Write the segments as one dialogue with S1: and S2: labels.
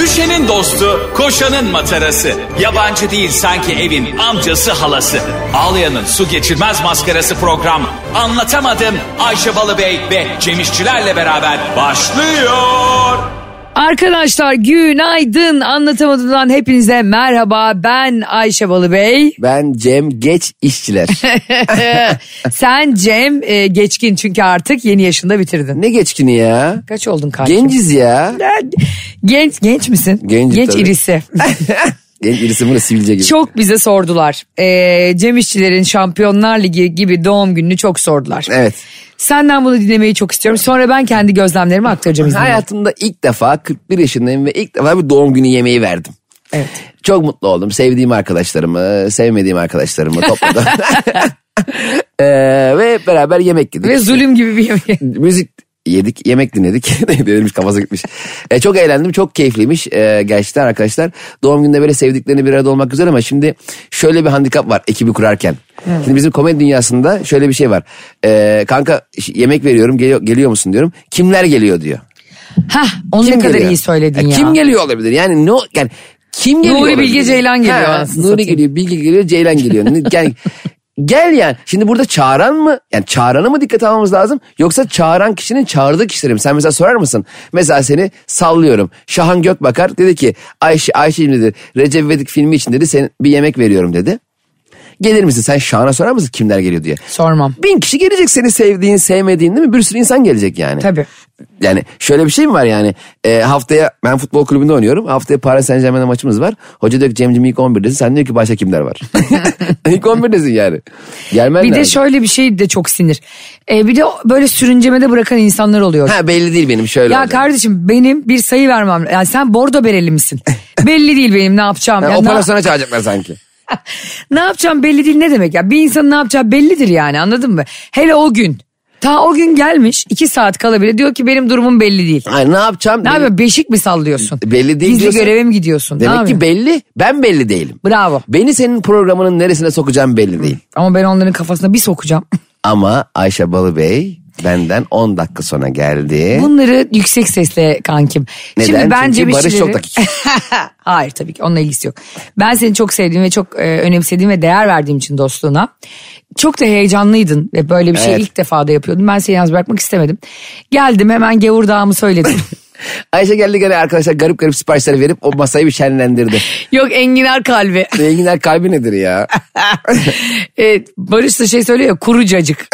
S1: Ayşe'nin dostu, koşanın matarası. Yabancı değil sanki evin amcası halası. Ağlayan'ın su geçirmez maskarası program. Anlatamadım Ayşe Balıbey ve Cemişçilerle beraber başlıyor.
S2: Arkadaşlar günaydın anlatamadığımdan hepinize merhaba ben Ayşe Balıbey.
S3: Ben Cem Geç işçiler.
S2: Sen Cem e, geçkin çünkü artık yeni yaşında bitirdin.
S3: ne geçkini ya?
S2: Kaç oldun kardeşim?
S3: Genciz ya.
S2: Genç, genç misin?
S3: Gencim
S2: genç
S3: tabii.
S2: irisi.
S3: Genç birisi bunu sivilce gibi.
S2: çok bize sordular. E, Cem İşçilerin Şampiyonlar Ligi gibi doğum gününü çok sordular.
S3: Evet.
S2: Senden bunu dinlemeyi çok istiyorum. Sonra ben kendi gözlemlerimi aktaracağım izninizle.
S3: Hayatımda ilk defa 41 yaşındayım ve ilk defa bir doğum günü yemeği verdim.
S2: Evet.
S3: Çok mutlu oldum. Sevdiğim arkadaşlarımı, sevmediğim arkadaşlarımı topladım. Ee, ve hep beraber yemek yedik.
S2: Ve zulüm gibi bir yemek.
S3: müzik yedik, yemek dinledik. Dedirmiş kafası gitmiş. E, çok eğlendim, çok keyifliymiş e, gerçekten arkadaşlar. Doğum günde böyle sevdiklerini bir arada olmak güzel ama şimdi şöyle bir handikap var ekibi kurarken. Şimdi bizim komedi dünyasında şöyle bir şey var. E, kanka ş- yemek veriyorum, geliyor, geliyor musun diyorum. Kimler geliyor diyor.
S2: Hah onu
S3: Kim
S2: ne kadar
S3: geliyor? E,
S2: iyi söyledin ya.
S3: Kim geliyor olabilir? Yani ne o- yani kim geliyor?
S2: Nuri
S3: olabilir?
S2: Bilge Ceylan geliyor aslında
S3: Nuri
S2: satayım.
S3: geliyor, Bilge geliyor, Ceylan geliyor. Ne- gel gel yani. Şimdi burada çağıran mı? Yani çağırana mı dikkat almamız lazım? Yoksa çağıran kişinin çağırdığı kişileri mi? Sen mesela sorar mısın? Mesela seni sallıyorum. Şahan Gökbakar dedi ki Ayşe Ayşe'cim dedi Recep İvedik filmi için dedi sen bir yemek veriyorum dedi. Gelir misin? Sen Şahan'a sorar mısın kimler geliyor diye?
S2: Sormam.
S3: Bin kişi gelecek seni sevdiğin, sevmediğin değil mi? Bir sürü insan gelecek yani.
S2: Tabii.
S3: Yani şöyle bir şey mi var yani E, haftaya ben futbol kulübünde oynuyorum. Haftaya Paris Saint Germain'de maçımız var. Hoca diyor ki Cem'cim ilk 11'desin. Sen diyor ki başka kimler var? ilk 11'desin yani. Gelmen
S2: Bir de
S3: lazım.
S2: şöyle bir şey de çok sinir. Ee, bir de böyle sürüncemede bırakan insanlar oluyor.
S3: Ha belli değil benim şöyle
S2: ya
S3: olacak.
S2: kardeşim benim bir sayı vermem. Yani sen bordo bereli misin? belli değil benim ne yapacağım.
S3: Ha,
S2: Yani ne,
S3: operasyona çağıracaklar sanki.
S2: ne yapacağım belli değil ne demek ya? Bir insanın ne yapacağı bellidir yani anladın mı? Hele o gün. Ta o gün gelmiş iki saat kala bile diyor ki benim durumum belli değil.
S3: Ay, ne yapacağım?
S2: Ne yapıyorsun beşik mi sallıyorsun?
S3: Belli değil
S2: Gizli
S3: diyorsun.
S2: göreve mi gidiyorsun? Ne
S3: Demek ki
S2: yapıyorsun?
S3: belli. Ben belli değilim.
S2: Bravo.
S3: Beni senin programının neresine sokacağım belli değil.
S2: Ama ben onların kafasına bir sokacağım.
S3: Ama Ayşe Balıbey benden 10 dakika sonra geldi.
S2: Bunları yüksek sesle kankim.
S3: E? Neden?
S2: Şimdi ben
S3: Çünkü
S2: Cem
S3: Barış
S2: İşçileri-
S3: çok dakik.
S2: Hayır tabii ki onunla ilgisi yok. Ben seni çok sevdiğim ve çok e, önemsediğim ve değer verdiğim için dostluğuna. Çok da heyecanlıydın ve böyle bir şey
S3: Evet.
S2: ilk defa da yapıyordun. Ben seni yalnız bırakmak istemedim. Geldim hemen gavur dağımı söyledim.
S3: Ayşe geldi gene arkadaşlar garip garip siparişler verip o masayı bir şenlendirdi.
S2: yok enginar kalbi.
S3: Zenginler kalbi nedir ya?
S2: E, Barış da şey söylüyor ya kurucacık.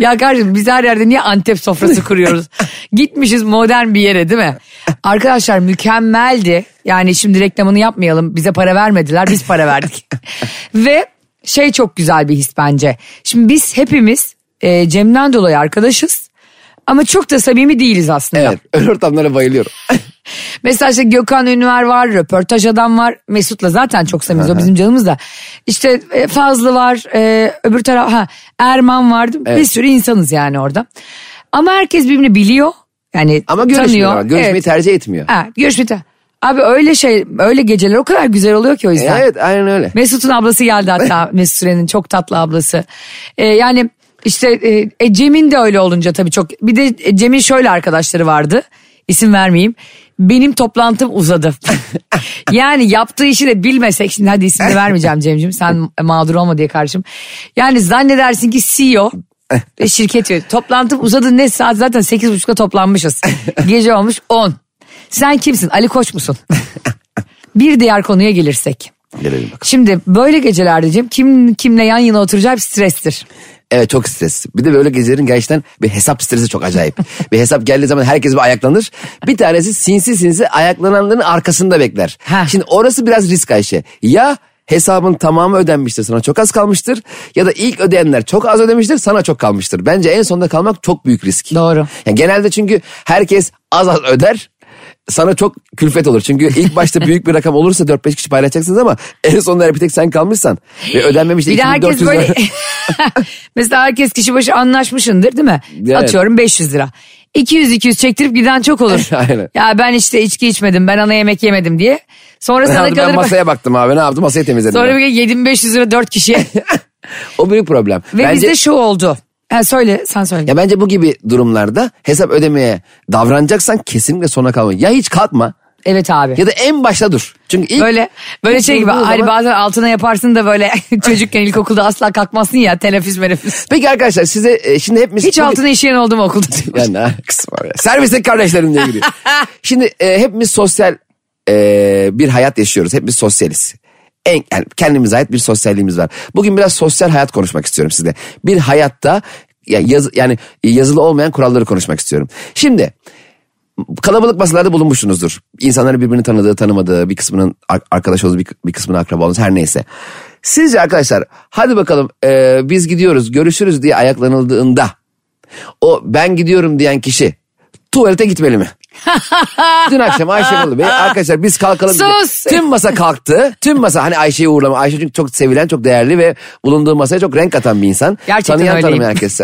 S2: Ya kardeşim biz her yerde niye Antep sofrası kuruyoruz? Gitmişiz modern bir yere değil mi? Arkadaşlar mükemmeldi. Yani şimdi reklamını yapmayalım. Bize para vermediler biz para verdik. Ve şey çok güzel bir his bence. Şimdi biz hepimiz e, Cem'den dolayı arkadaşız. Ama çok da samimi değiliz aslında.
S3: Evet. Öyle ortamlara bayılıyorum.
S2: Mesela işte Gökhan Ünver var, röportaj adam var. Mesut'la zaten çok samimiz o bizim canımız da. İşte e, Fazlı var, e, öbür taraf ha, Erman vardı. Bir sürü insanız yani orada. Ama herkes birbirini biliyor. Yani
S3: Ama görüşmüyor.
S2: tanıyor.
S3: Ama. Görüşmeyi
S2: evet.
S3: tercih etmiyor.
S2: ha, görüşmeyi ter- Abi öyle şey, öyle geceler o kadar güzel oluyor ki o yüzden.
S3: Evet aynen öyle.
S2: Mesut'un ablası geldi hatta Mesut Süren'in çok tatlı ablası. Ee, yani işte e, e, Cem'in de öyle olunca tabii çok. Bir de e, Cem'in şöyle arkadaşları vardı. İsim vermeyeyim. Benim toplantım uzadı. yani yaptığı işi de bilmesek şimdi hadi isim de vermeyeceğim Cem'ciğim sen mağdur olma diye karşım. Yani zannedersin ki CEO ve şirket yönetiyor. Toplantım uzadı ne saat zaten 8.30'da toplanmışız. Gece olmuş 10. Sen kimsin Ali Koç musun? Bir diğer konuya gelirsek.
S3: Gelelim bakalım.
S2: Şimdi böyle gecelerde Cem kim kimle yan yana oturacağı bir strestir.
S3: Evet çok stres. Bir de böyle gecelerin gerçekten bir hesap stresi çok acayip. bir hesap geldiği zaman herkes bir ayaklanır. Bir tanesi sinsi sinsi ayaklananların arkasında bekler.
S2: Ha.
S3: Şimdi orası biraz risk Ayşe. Ya hesabın tamamı ödenmiştir sana çok az kalmıştır ya da ilk ödeyenler çok az ödemiştir sana çok kalmıştır. Bence en sonda kalmak çok büyük risk.
S2: Doğru.
S3: Yani genelde çünkü herkes az az öder. Sana çok külfet olur. Çünkü ilk başta büyük bir rakam olursa 4-5 kişi paylaşacaksınız ama en sonunda bir tek sen kalmışsan ve ödenmemiş de
S2: Bir de herkes
S3: 2400 lira-
S2: böyle mesela herkes kişi başı anlaşmışındır değil mi?
S3: Evet.
S2: Atıyorum 500 lira. 200-200 çektirip giden çok olur.
S3: Aynen.
S2: Ya ben işte içki içmedim ben ana yemek yemedim diye. Sonra
S3: Ne
S2: sana
S3: yaptım? ben
S2: kalır
S3: masaya baktım abi ne yaptım masayı temizledim.
S2: sonra
S3: ben.
S2: bir gün yedim 500 lira 4 kişiye.
S3: O büyük problem.
S2: Ve
S3: bence,
S2: bizde şu oldu. Ha, söyle sen söyle.
S3: ya bence bu gibi durumlarda hesap ödemeye davranacaksan kesinlikle sona kalma. Ya hiç kalkma
S2: Evet abi.
S3: Ya da en başta dur. Çünkü ilk
S2: Böyle böyle
S3: ilk
S2: şey gibi
S3: durduğu
S2: hani
S3: zaman-
S2: bazen altına yaparsın da böyle çocukken ilkokulda asla kalkmazsın ya teneffüs meneffüs.
S3: Peki arkadaşlar size e, şimdi hepimiz...
S2: Hiç altına işeyen oldu mu okulda?
S3: Ya ne alakası var ya. Servise kardeşlerim diye giriyor. Şimdi e, hepimiz sosyal e, bir hayat yaşıyoruz. Hepimiz sosyaliz. En, yani kendimize ait bir sosyalliğimiz var. Bugün biraz sosyal hayat konuşmak istiyorum size. Bir hayatta ya yaz- yani yazılı olmayan kuralları konuşmak istiyorum. Şimdi kalabalık masalarda bulunmuşsunuzdur. İnsanların birbirini tanıdığı, tanımadığı, bir kısmının ar- arkadaş olduğu, bir, bir kısmının akraba olduğu her neyse. Sizce arkadaşlar hadi bakalım e, biz gidiyoruz görüşürüz diye ayaklanıldığında o ben gidiyorum diyen kişi tuvalete gitmeli mi? Dün akşam Ayşe Balı Bey arkadaşlar biz kalkalım. diye-
S2: Sus!
S3: Tüm masa kalktı. Tüm masa hani Ayşe'yi uğurlama. Ayşe çünkü çok sevilen çok değerli ve bulunduğu masaya çok renk atan bir insan.
S2: Gerçekten
S3: Tanıyan
S2: öyleyim.
S3: tanımayan herkes.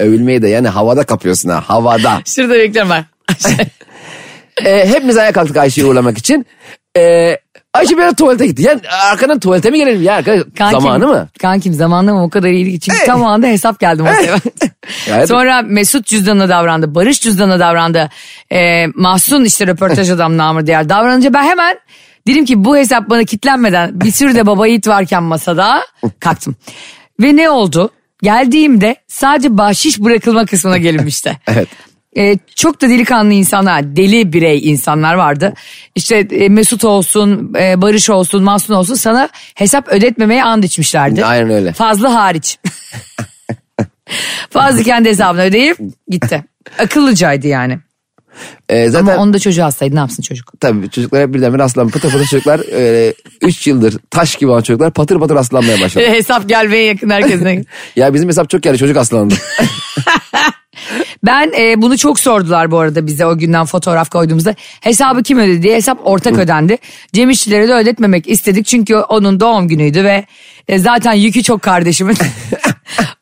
S3: Övülmeyi de yani havada kapıyorsun ha havada.
S2: Şurada bekliyorum ben.
S3: Ee, hepimiz ayağa kalktık Ayşe'yi uğurlamak için. Ee, Ayşe bir ara tuvalete gitti. Yani arkadan tuvalete mi gelelim ya arkadaş?
S2: Kankim,
S3: Zamanı mı?
S2: Kankim zamanı mı o kadar iyiydi ki. Çünkü tam o anda hesap geldi masaya.
S3: Ya, evet.
S2: Sonra Mesut cüzdanına davrandı. Barış cüzdanına davrandı. Ee, Mahsun işte röportaj adam namır diğer davranınca ben hemen dedim ki bu hesap bana kitlenmeden bir sürü de baba yiğit varken masada kalktım. Ve ne oldu? Geldiğimde sadece bahşiş bırakılma kısmına gelinmişti.
S3: Evet.
S2: Ee, çok da delikanlı insanlar, deli birey insanlar vardı. İşte e, Mesut olsun, e, Barış olsun, Mahsun olsun sana hesap ödetmemeye and içmişlerdi.
S3: Aynen öyle.
S2: Fazla hariç. Fazla kendi hesabını ödeyip gitti. Akıllıcaydı yani.
S3: Ee, zaten
S2: Ama onu da çocuğu hastaydı ne yapsın çocuk?
S3: tabii çocuklar hep birdenbire aslan pıtı pıtı çocuklar 3 yıldır taş gibi olan çocuklar patır patır aslanmaya başladı.
S2: Hesap gelmeye yakın herkesine.
S3: ya bizim hesap çok yani çocuk aslandı.
S2: Ben e, bunu çok sordular bu arada bize o günden fotoğraf koyduğumuzda. Hesabı kim ödedi diye hesap ortak ödendi. Cem İşçilere de ödetmemek istedik çünkü onun doğum günüydü ve e, zaten yükü çok kardeşimin.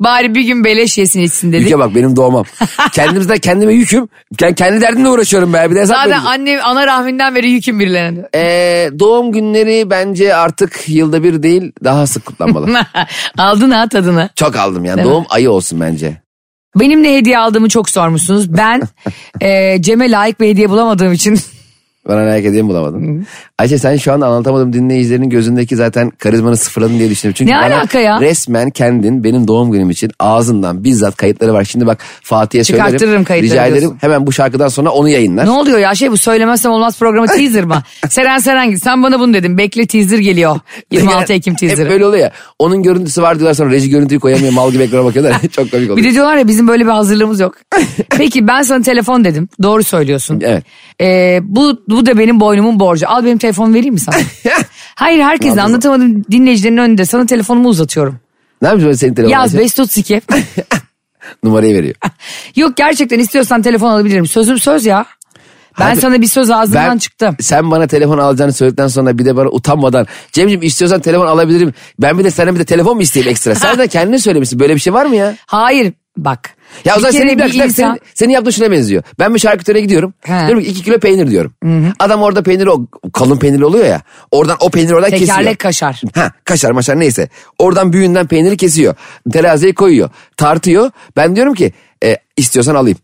S2: Bari bir gün beleş yesin içsin dedik.
S3: Yüke bak benim doğmam. Kendimizden kendime yüküm. Kend- Kendi derdimle uğraşıyorum be. Bir de hesap
S2: Zaten
S3: vereceğim.
S2: anne ana rahminden beri yüküm birilerine. diyor.
S3: Ee, doğum günleri bence artık yılda bir değil daha sık kutlanmalı.
S2: Aldın ha tadını.
S3: çok aldım yani
S2: Değil mi?
S3: doğum ayı olsun bence.
S2: Benim ne hediye aldığımı çok sormuşsunuz. Ben e, Cem'e layık bir hediye bulamadığım için
S3: Bana ne hediye mi bulamadın? Ayşe sen şu an anlatamadım dinleyicilerin gözündeki zaten karizmanı sıfırladın diye düşünüyorum. Çünkü
S2: Ne
S3: bana
S2: alaka ya?
S3: resmen kendin benim doğum günüm için ağzından bizzat kayıtları var. Şimdi bak Fatih'e söylerim.
S2: Çıkarttırırım kayıtları
S3: Rica ederim
S2: diyorsun.
S3: hemen bu şarkıdan sonra onu yayınlar.
S2: Ne oluyor ya şey bu söylemezsem olmaz programı teaser mı? Seren Seren git sen bana bunu dedin. Bekle teaser geliyor. 26 Ekim
S3: Hep
S2: teaserı.
S3: böyle oluyor ya. Onun görüntüsü var diyorlar sonra reji görüntüyü koyamıyor mal gibi ekrana bakıyorlar. Çok komik
S2: Bir
S3: oluyor.
S2: de diyorlar ya bizim böyle bir hazırlığımız yok. Peki ben sana telefon dedim. Doğru söylüyorsun.
S3: Evet.
S2: Ee, bu, bu da benim boynumun borcu. Al benim telefonu vereyim mi sana? Hayır herkese anlatamadım dinleyicilerin önünde sana telefonumu uzatıyorum.
S3: ne yapıyorsun böyle senin telefonun?
S2: Yaz
S3: Ayşe?
S2: 532.
S3: Numarayı veriyor.
S2: yok gerçekten istiyorsan telefon alabilirim. Sözüm söz ya. Ben
S3: Hadi.
S2: sana bir söz ağzından
S3: Ben-
S2: çıktım.
S3: Sen bana telefon alacağını söyledikten sonra bir de bana utanmadan Cemciğim istiyorsan telefon alabilirim. Ben bir de sana bir de telefon mu isteyeyim ekstra? Sen de kendin söylemişsin. Böyle bir şey var mı ya?
S2: Hayır bak.
S3: Ya o
S2: Bir
S3: zaman
S2: kere
S3: senin, bir dakika,
S2: insan-
S3: senin, senin yaptığın şuna benziyor. Ben bir şarküteriye gidiyorum.
S2: He.
S3: Diyorum ki iki kilo peynir diyorum. Adam orada peyniri o kalın peynir oluyor ya. Oradan o peyniri oradan kesiyor.
S2: Tekerlek kaşar.
S3: Ha, kaşar maşar neyse. Oradan büyüğünden peyniri kesiyor. Teraziye koyuyor. Tartıyor. Ben diyorum ki e, istiyorsan alayım.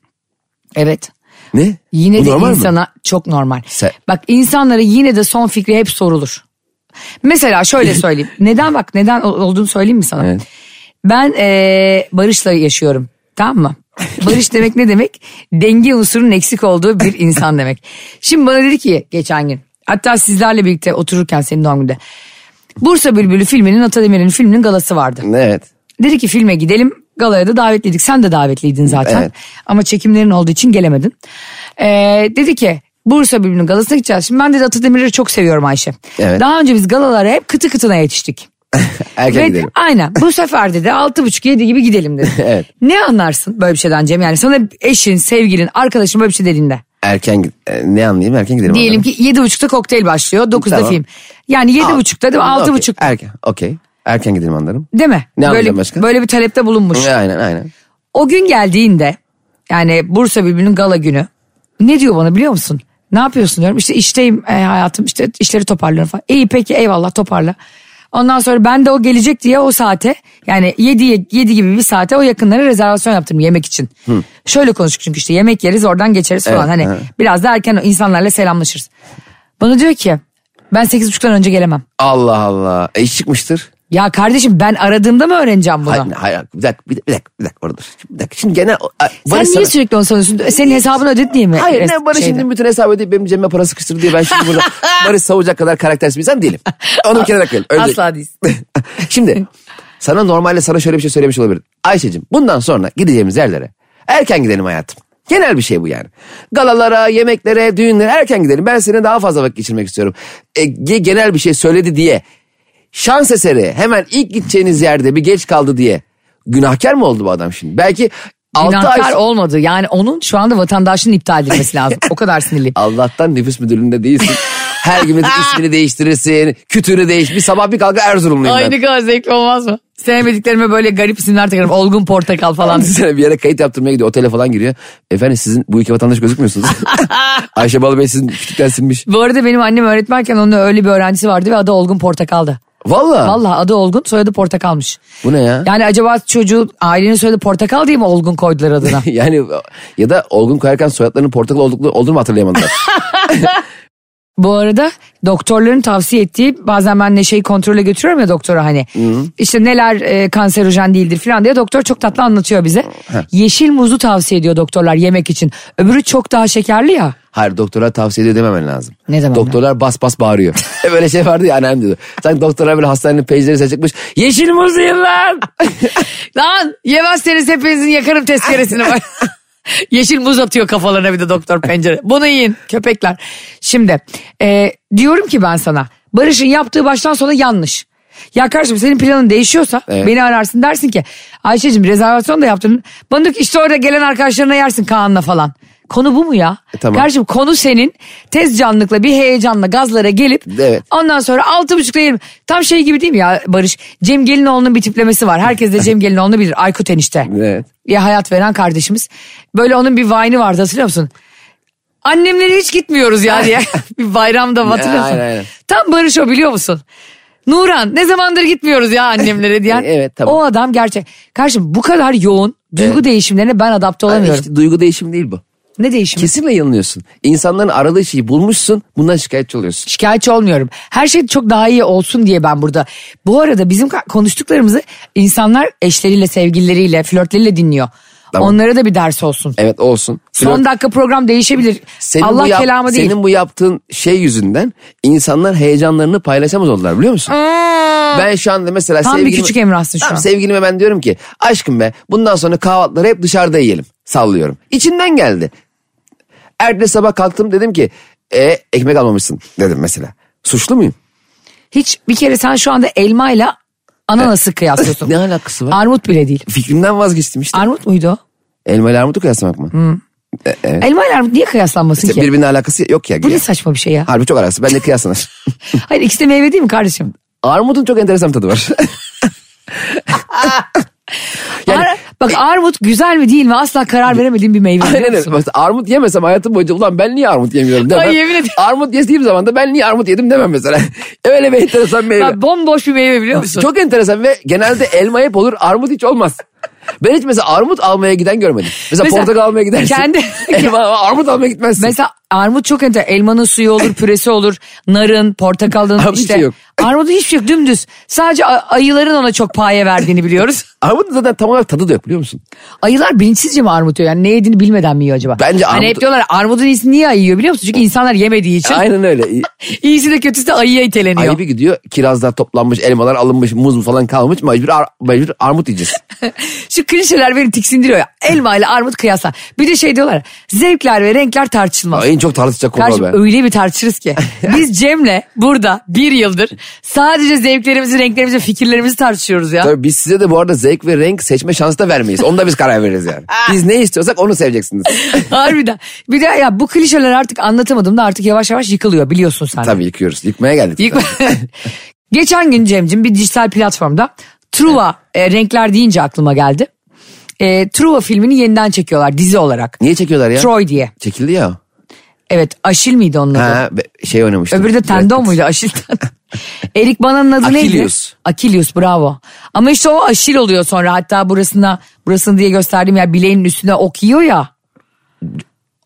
S2: Evet.
S3: Ne?
S2: Yine
S3: Bu
S2: de
S3: normal mi?
S2: insana çok normal.
S3: Se-
S2: Bak insanlara yine de son fikri hep sorulur. Mesela şöyle söyleyeyim. neden bak neden ol- olduğunu söyleyeyim mi sana?
S3: Evet.
S2: Ben eee, Barış'la yaşıyorum. Tamam mı? Barış demek ne demek? Denge unsurunun eksik olduğu bir insan demek. Şimdi bana dedi ki geçen gün. Hatta sizlerle birlikte otururken senin doğum günde. Bursa Bülbülü filminin Atademir'in filminin galası vardı.
S3: Evet.
S2: Dedi ki filme gidelim. Galaya da davetliydik. Sen de davetliydin zaten.
S3: Evet.
S2: Ama çekimlerin olduğu için gelemedin. Ee, dedi ki Bursa Bülbül'ün galasına gideceğiz. Şimdi ben de Atademir'i çok seviyorum Ayşe.
S3: Evet.
S2: Daha önce biz galalara hep kıtı kıtına yetiştik.
S3: Erken
S2: Ve-
S3: gidelim.
S2: Aynen. Bu sefer dedi altı buçuk yedi gibi gidelim dedi.
S3: Evet.
S2: Ne anlarsın böyle bir şeyden Cem? Yani sana eşin, sevgilin, arkadaşın böyle bir şey dediğinde.
S3: Erken gid- e, ne anlayayım erken gidelim.
S2: Diyelim
S3: anladım.
S2: ki yedi buçukta kokteyl başlıyor, dokuzda
S3: Tamam.
S2: film. Yani yedi
S3: Aa,
S2: buçukta değil mi?
S3: tamam,
S2: Altı
S3: okey.
S2: buçuk
S3: Erken okey. Erken gidelim anlarım.
S2: değil mi?
S3: Ne
S2: böyle,
S3: anlayacağım başka?
S2: böyle bir talepte bulunmuş.
S3: Aynen aynen.
S2: O gün geldiğinde yani Bursa Bülbül'ün gala günü ne diyor bana biliyor musun? Ne yapıyorsun diyorum işte işteyim e, hayatım işte işleri toparlıyorum falan. İyi peki eyvallah toparla. Ondan sonra ben de o gelecek diye o saate yani 7, 7 gibi bir saate o yakınlara rezervasyon yaptım yemek için. Şöyle konuştuk çünkü işte yemek yeriz oradan geçeriz falan.
S3: Evet,
S2: hani
S3: evet.
S2: biraz da erken insanlarla selamlaşırız. Bana diyor ki ben 8.30'dan önce gelemem.
S3: Allah Allah. E iş çıkmıştır.
S2: Ya kardeşim ben aradığımda mı öğreneceğim bunu?
S3: Hayır, hayır, bir dakika, bir dakika, bir dakika, bir dakika, orada. Bir dakika. Şimdi genel... Ay,
S2: Sen
S3: Barış
S2: niye
S3: sana-
S2: sürekli onu sanıyorsun? Senin hesabını ödedi diye mi?
S3: Hayır
S2: Res-
S3: ne Barış
S2: şeyde?
S3: şimdi bütün hesabı ödeyip benim cebime para sıkıştırdı diye ben şimdi burada Barış savacak kadar karaktersiz bir insan değilim. Onu bir kere bırakayım. Öyle değil.
S2: Asla değilsin.
S3: şimdi sana normalde sana şöyle bir şey söylemiş olabilirim. Ayşe'cim bundan sonra gideceğimiz yerlere erken gidelim hayatım. Genel bir şey bu yani. Galalara, yemeklere, düğünlere erken gidelim. Ben seninle daha fazla vakit geçirmek istiyorum. E, ge- genel bir şey söyledi diye. Şans eseri hemen ilk gideceğiniz yerde bir geç kaldı diye. Günahkar mı oldu bu adam şimdi? Belki 6 ay...
S2: Günahkar olmadı. Yani onun şu anda vatandaşının iptal edilmesi lazım. O kadar sinirli.
S3: Allah'tan nüfus müdürlüğünde değilsin. Her gün metin ismini değiştirirsin. Kütüğünü değiş. Bir sabah bir kalka Erzurumluyum ben.
S2: Aynı kadar zevkli olmaz mı? Sevmediklerime böyle garip isimler takarım. Olgun portakal falan.
S3: Düşünsene bir yere kayıt yaptırmaya gidiyor. Otele falan giriyor. Efendim sizin bu iki vatandaş gözükmüyorsunuz. Ayşe Balı Bey sizin küçükten silmiş.
S2: Bu arada benim annem öğretmenken onun öyle bir öğrencisi vardı ve adı Olgun Portakal'dı.
S3: Valla.
S2: Vallahi adı Olgun soyadı Portakal'mış.
S3: Bu ne ya?
S2: Yani acaba çocuğu ailenin soyadı Portakal diye mi Olgun koydular adına?
S3: Yani ya da Olgun koyarken soyadlarının portakal oldukları olduğunu mu hatırlayamadılar?
S2: Bu arada doktorların tavsiye ettiği bazen ben de şey kontrole götürüyorum ya doktora hani. İşte neler e, kanserojen değildir falan diye doktor çok tatlı anlatıyor bize. Yeşil muzu tavsiye ediyor doktorlar yemek için. Öbürü çok daha şekerli ya.
S3: Hayır doktora tavsiye ediyor dememen lazım.
S2: Ne demem
S3: Doktorlar bas bas bağırıyor. E böyle şey vardı ya annem diyordu. Sanki doktorlar böyle hastanenin penceresi çıkmış. Yeşil muz yiyin lan.
S2: Lan yemezseniz hepinizin yakarım tezkeresini var. Yeşil muz atıyor kafalarına bir de doktor pencere. Bunu yiyin köpekler. Şimdi e, diyorum ki ben sana Barış'ın yaptığı baştan sona yanlış. Ya kardeşim senin planın değişiyorsa
S3: Evet.
S2: beni ararsın dersin ki Ayşe'cim rezervasyon da yaptın. Bana diyor ki işte orada gelen arkadaşlarına yersin Kaan'la falan. Konu bu mu ya?
S3: E, tamam.
S2: Kardeşim konu senin tez canlılıkla bir heyecanla gazlara gelip
S3: Evet.
S2: Ondan sonra altı buçukta yerim. Tam şey gibi değil mi ya Barış? Cem Gelinoğlu'nun bir tiplemesi var. Herkes de Cem Gelinoğlu'nu bilir. Aykut enişte.
S3: Evet.
S2: Ya hayat veren kardeşimiz. Böyle onun bir vine'ı vardı hatırlıyor musun? Annemlere hiç gitmiyoruz ya diye. bir bayramda hatırlıyor musun?
S3: Aynen, aynen.
S2: Tam Barış o biliyor musun? Nuran ne zamandır gitmiyoruz ya annemlere diyen.
S3: Evet, tamam.
S2: O adam gerçek. Karşım bu kadar yoğun duygu değişimlerine ben adapte olamıyorum.
S3: İşte duygu değişimi değil bu.
S2: ne değişimi?
S3: Kesinlikle yanılıyorsun. İnsanların aradığı şeyi bulmuşsun bundan şikayetçi oluyorsun.
S2: şikayetçi olmuyorum. Her şey çok daha iyi olsun diye ben burada. Bu arada bizim ka- konuştuklarımızı insanlar eşleriyle, sevgilileriyle, flörtleriyle dinliyor.
S3: Tamam.
S2: Onlara da bir ders olsun.
S3: Evet olsun.
S2: Son
S3: Flört-
S2: dakika program değişebilir. Allah
S3: bu yap-
S2: kelamı değil.
S3: Senin bu yaptığın şey yüzünden insanlar heyecanlarını paylaşamaz oldular biliyor musun? Ben şu anda mesela
S2: Tam bir
S3: sevgilime-
S2: küçük Emrah'sın şu
S3: Tamam,
S2: an.
S3: Sevgilime ben diyorum ki aşkım be bundan sonra kahvaltıları hep dışarıda yiyelim. Sallıyorum. İçinden geldi. Ertesi sabah kalktım dedim ki e, ekmek almamışsın dedim mesela. Suçlu muyum?
S2: Hiç bir kere sen şu anda elmayla ananası kıyaslıyorsun.
S3: E- Ne alakası var?
S2: Armut bile değil.
S3: Fikrimden vazgeçtim işte.
S2: Armut muydu o?
S3: Elma ile armutu kıyaslamak mı?
S2: Hmm. Elma ile armut niye kıyaslanmasın ki?
S3: Birbirine alakası yok ya.
S2: Bu ne saçma bir şey ya.
S3: Harbi çok arası. Ben de kıyaslanır.
S2: Hayır ikisi de meyve değil mi kardeşim?
S3: Armudun çok enteresan bir tadı var. Yani-
S2: Ar- bak armut güzel mi değil mi asla karar veremediğim bir meyve. biliyor
S3: Aynen öyle.
S2: musun?
S3: Mesela armut yemesem hayatım boyunca ulan ben niye armut yemiyorum demem.
S2: Ay yemin ederim.
S3: Armut yediğim zaman da ben niye armut yedim demem mesela. öyle bir enteresan meyve.
S2: Bak, bomboş bir meyve biliyor musun?
S3: Çok enteresan ve genelde elma hep olur armut hiç olmaz. Ben hiç mesela armut almaya giden görmedim. Mesela,
S2: Mesela
S3: portakal almaya gidersin.
S2: kendi-
S3: elma, armut almaya gitmezsin.
S2: Mesela armut çok enter. Elmanın suyu olur, püresi olur. Narın, portakalın
S3: Armut
S2: işte.
S3: hiç yok.
S2: Armudun hiçbir şey yok dümdüz. Sadece a- ayıların ona çok paye verdiğini biliyoruz.
S3: Armutun zaten tam olarak tadı da yok biliyor musun?
S2: Ayılar bilinçsizce mi armut yiyor? Yani ne yediğini bilmeden mi yiyor acaba?
S3: Bence
S2: Hani
S3: armut-
S2: hep diyorlar armudun iyisini niye ayı yiyor biliyor musun? Çünkü insanlar yemediği için.
S3: Aynen öyle.
S2: İyisi de kötüsü de ayıya iteleniyor.
S3: Ayı bir gidiyor kirazlar toplanmış elmalar alınmış muz falan kalmış mecbur, ar- mecbur armut yiyeceğiz.
S2: Şu klişeler beni tiksindiriyor ya. Elma ile armut kıyasla. Bir de şey diyorlar. Zevkler ve renkler tartışılmaz.
S3: Ay, en çok tartışacak konu o
S2: Kardeşim
S3: be.
S2: öyle bir tartışırız ki. Biz Cem'le burada bir yıldır sadece zevklerimizi, renklerimizi, fikirlerimizi tartışıyoruz ya.
S3: Tabii biz size de bu arada zevk ve renk seçme şansı da vermeyiz. Onu da biz karar veririz yani. Biz ne istiyorsak onu seveceksiniz.
S2: Harbiden. Bir de ya bu klişeler artık anlatamadım da artık yavaş yavaş yıkılıyor biliyorsun sen. de.
S3: Tabii yıkıyoruz. Yıkmaya geldik.
S2: Yıkma- Geçen gün Cem'cim bir dijital platformda Truva e, renkler deyince aklıma geldi. E, Truva filmini yeniden çekiyorlar dizi olarak.
S3: Niye çekiyorlar ya?
S2: Troy diye.
S3: Çekildi ya.
S2: Evet Aşil miydi onun adı?
S3: Ha, be- şey oynamıştım.
S2: Öbürü de
S3: Brad
S2: tendon
S3: Pitt.
S2: muydu Aşil? Erik Bana'nın adı neydi?
S3: Achilles.
S2: Akilius bravo. Ama işte o Aşil oluyor sonra hatta burasına burasını diye gösterdiğim yer bileğinin üstüne ok yiyor ya.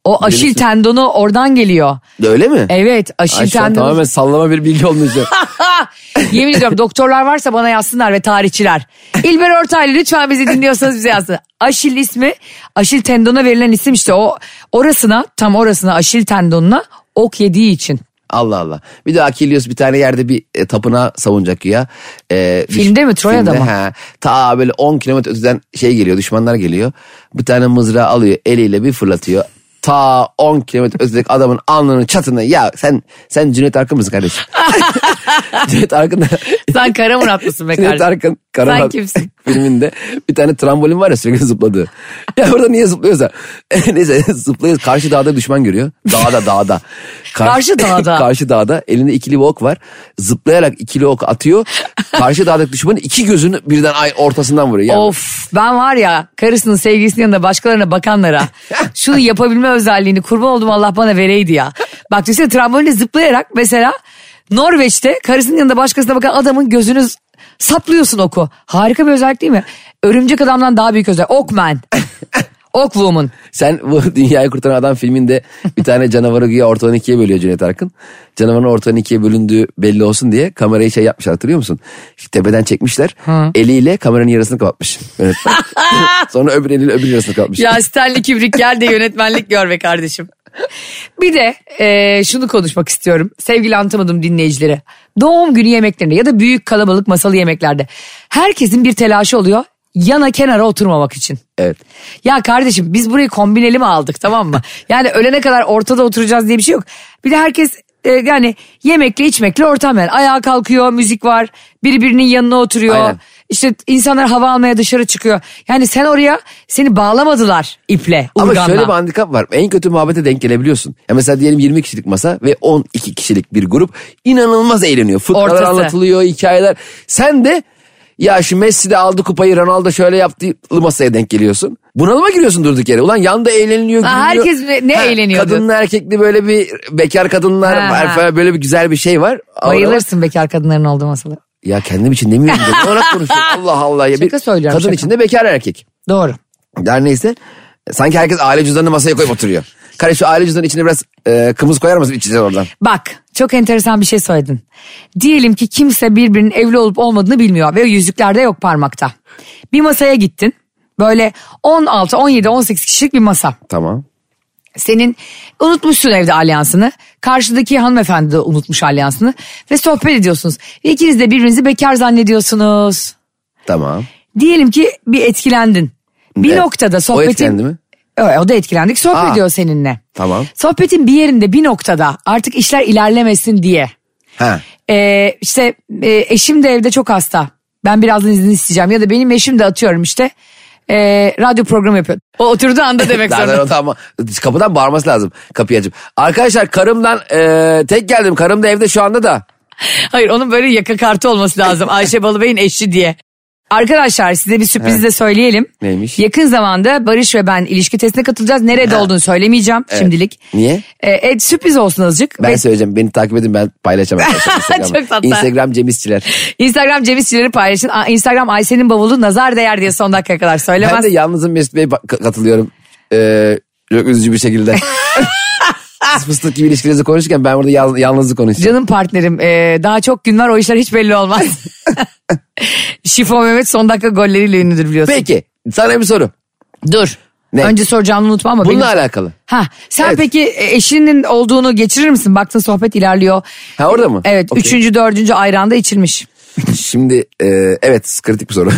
S2: O Aşil
S3: misin?
S2: tendonu oradan geliyor.
S3: Öyle mi?
S2: Evet Aşil
S3: Ay şu an
S2: tendonu.
S3: tamamen sallama bir bilgi olmuş.
S2: Yemin ediyorum doktorlar varsa bana yazsınlar ve tarihçiler. İlber Ortaylı lütfen bizi dinliyorsanız bize yazsın. Aşil ismi, Aşil tendona verilen isim işte o orasına tam orasına Aşil tendonuna ok yediği için.
S3: Allah Allah. Bir de Akilius bir tane yerde bir e, tapınağı savunacak ya. E, düş-
S2: Filmde mi? Troya'da mı?
S3: He. Ta böyle 10 kilometre öteden şey geliyor düşmanlar geliyor. Bir tane mızrağı alıyor eliyle bir fırlatıyor. Ta 10 kilometre ötedeki adamın alnının çatına ya sen sen Cüneyt Arkın mısın kardeşim? Cüneyt Arkın da-
S2: Sen kara Murat mısın be
S3: Cüneyt
S2: kardeşim?
S3: Arkın Karaman
S2: Sen kimsin?
S3: filminde bir tane trambolin var ya sürekli zıpladığı. Ya orada niye zıplıyorsa. Neyse zıplıyor. Karşı dağda düşman görüyor. Dağda dağda.
S2: Karşı dağda.
S3: karşı dağda elinde ikili bir ok var. Zıplayarak ikili ok atıyor. Karşı dağdaki düşmanın iki gözünü birden ay ortasından vuruyor. Yani
S2: Of ben var ya karısının sevgilisinin yanında başkalarına bakanlara şunu yapabilme özelliğini kurban oldum Allah bana vereydi ya. Bak düşünsene trambolinle zıplayarak mesela Norveç'te karısının yanında başkasına bakan adamın gözünü z- saplıyorsun oku. Harika bir özellik değil mi? Örümcek adamdan daha büyük özellik. Okman. Okwoman.
S3: Sen bu Dünyayı Kurtaran Adam filminde bir tane canavarı güya ortadan ikiye bölüyor Cüneyt Arkın. Canavarın ortadan ikiye bölündüğü belli olsun diye kamerayı şey yapmışlar hatırlıyor musun? İşte tepeden çekmişler. Eliyle kameranın yarısını kapatmış. Yönetmen. Sonra öbür eliyle öbür yarısını kapatmış.
S2: Ya Stanley Kubrick gel de yönetmenlik gör be kardeşim. Bir de e, şunu konuşmak istiyorum. Sevgili anlatamadım dinleyicilere. Doğum günü yemeklerinde ya da büyük kalabalık masalı yemeklerde. Herkesin bir telaşı oluyor yana kenara oturmamak için.
S3: Evet.
S2: Ya kardeşim biz burayı kombineli mi aldık tamam mı? Yani ölene kadar ortada oturacağız diye bir şey yok. Bir de herkes e, yani yemekle içmekle ortam yani. Ayağa kalkıyor, müzik var, biri birinin yanına oturuyor.
S3: Aynen.
S2: İşte insanlar hava almaya dışarı çıkıyor. Yani sen oraya seni bağlamadılar iple,
S3: Ama
S2: urganla.
S3: şöyle bir handikap var. En kötü muhabbete denk gelebiliyorsun. Ya mesela diyelim 20 kişilik masa ve 12 kişilik bir grup inanılmaz eğleniyor. Fıkralar
S2: Ortası.
S3: anlatılıyor, hikayeler. Sen de ya şu Messi de aldı kupayı Ronaldo şöyle yaptı masaya denk geliyorsun. Bunalıma giriyorsun durduk yere. Ulan yanda eğleniliyor,
S2: Ha,
S3: gülünüyor.
S2: herkes ne- ne eğleniyordu?
S3: Kadınlı erkekli böyle bir bekar kadınlar
S2: Ha,
S3: var
S2: ha.
S3: falan böyle bir güzel bir şey var.
S2: Bayılırsın bekar kadınların olduğu masada.
S3: Ya kendim için demiyorum. da Ne olarak konuşuyorum Allah Allah. Ya. Bir
S2: Şaka söylüyorum,
S3: Kadın
S2: şaka.
S3: içinde bekar erkek.
S2: Doğru.
S3: Der neyse. Sanki herkes aile cüzdanını masaya koyup oturuyor. Kare şu aile cüzdanının içine biraz e, kımız koyar mısın içeceğiz oradan?
S2: Bak çok enteresan bir şey söyledin. Diyelim ki kimse birbirinin evli olup olmadığını bilmiyor ve yüzüklerde yok parmakta. Bir masaya gittin. Böyle 16, 17, 18 kişilik bir masa.
S3: Tamam.
S2: Senin unutmuşsun evde alyansını. Karşıdaki hanımefendi de unutmuş alyansını. Ve sohbet ediyorsunuz. Ve ikiniz de birbirinizi bekar zannediyorsunuz.
S3: Tamam.
S2: Diyelim ki bir etkilendin. Bir
S3: Evet.
S2: noktada sohbetin...
S3: O etkilendi mi?
S2: Evet, o da etkilendik. Sohbet
S3: Aa.
S2: ediyor seninle.
S3: Tamam.
S2: Sohbetin bir yerinde bir noktada artık işler ilerlemesin diye.
S3: Ha.
S2: Ee, işte e, eşim de evde çok hasta. Ben birazdan izin isteyeceğim. Ya da benim eşim de atıyorum işte. e, radyo programı yapıyor. O oturduğu anda demek
S3: Zaten
S2: zorunda.
S3: o da ama kapıdan bağırması lazım kapıyı açıp. Arkadaşlar karımdan e, tek geldim. Karım da evde şu anda da.
S2: Hayır onun böyle yaka kartı olması lazım. Ayşe Balıbey'in eşi diye. Arkadaşlar size bir sürpriz de söyleyelim.
S3: Neymiş?
S2: Yakın zamanda Barış ve ben ilişki testine katılacağız. Nerede olduğunu söylemeyeceğim şimdilik.
S3: Niye?
S2: Ee, e, sürpriz olsun azıcık.
S3: Ben
S2: Ve
S3: söyleyeceğim beni takip edin ben paylaşacağım. arkadaşlar Instagram'da.
S2: Çok tatlı.
S3: Instagram Cem İşçiler.
S2: Instagram Cem İşçileri paylaşın. Aa, Instagram Ayşe'nin bavulu nazar değer diye son dakikaya kadar
S3: Ben
S2: söylemez.
S3: de yalnızım Mesut Bey'e ba- ka- katılıyorum. E, çok üzücü bir şekilde. Siz Fıstık gibi ilişkilerinizi konuşurken ben burada yal- yalnızlık konuşacağım.
S2: Canım partnerim e, daha çok gün var o işler hiç belli olmaz. Şifo Mehmet son dakika golleriyle ünlüdür biliyorsun.
S3: Peki sana bir soru.
S2: Dur.
S3: Ne?
S2: Önce soracağımı unutma ama.
S3: Bununla
S2: benim-
S3: alakalı.
S2: Ha, sen
S3: Evet.
S2: peki e, eşinin olduğunu geçirir misin? Baktın sohbet ilerliyor.
S3: Ha, orada mı?
S2: Evet.
S3: Okey.
S2: Üçüncü, dördüncü ayranda içilmiş.
S3: Şimdi e, evet kritik bir soru.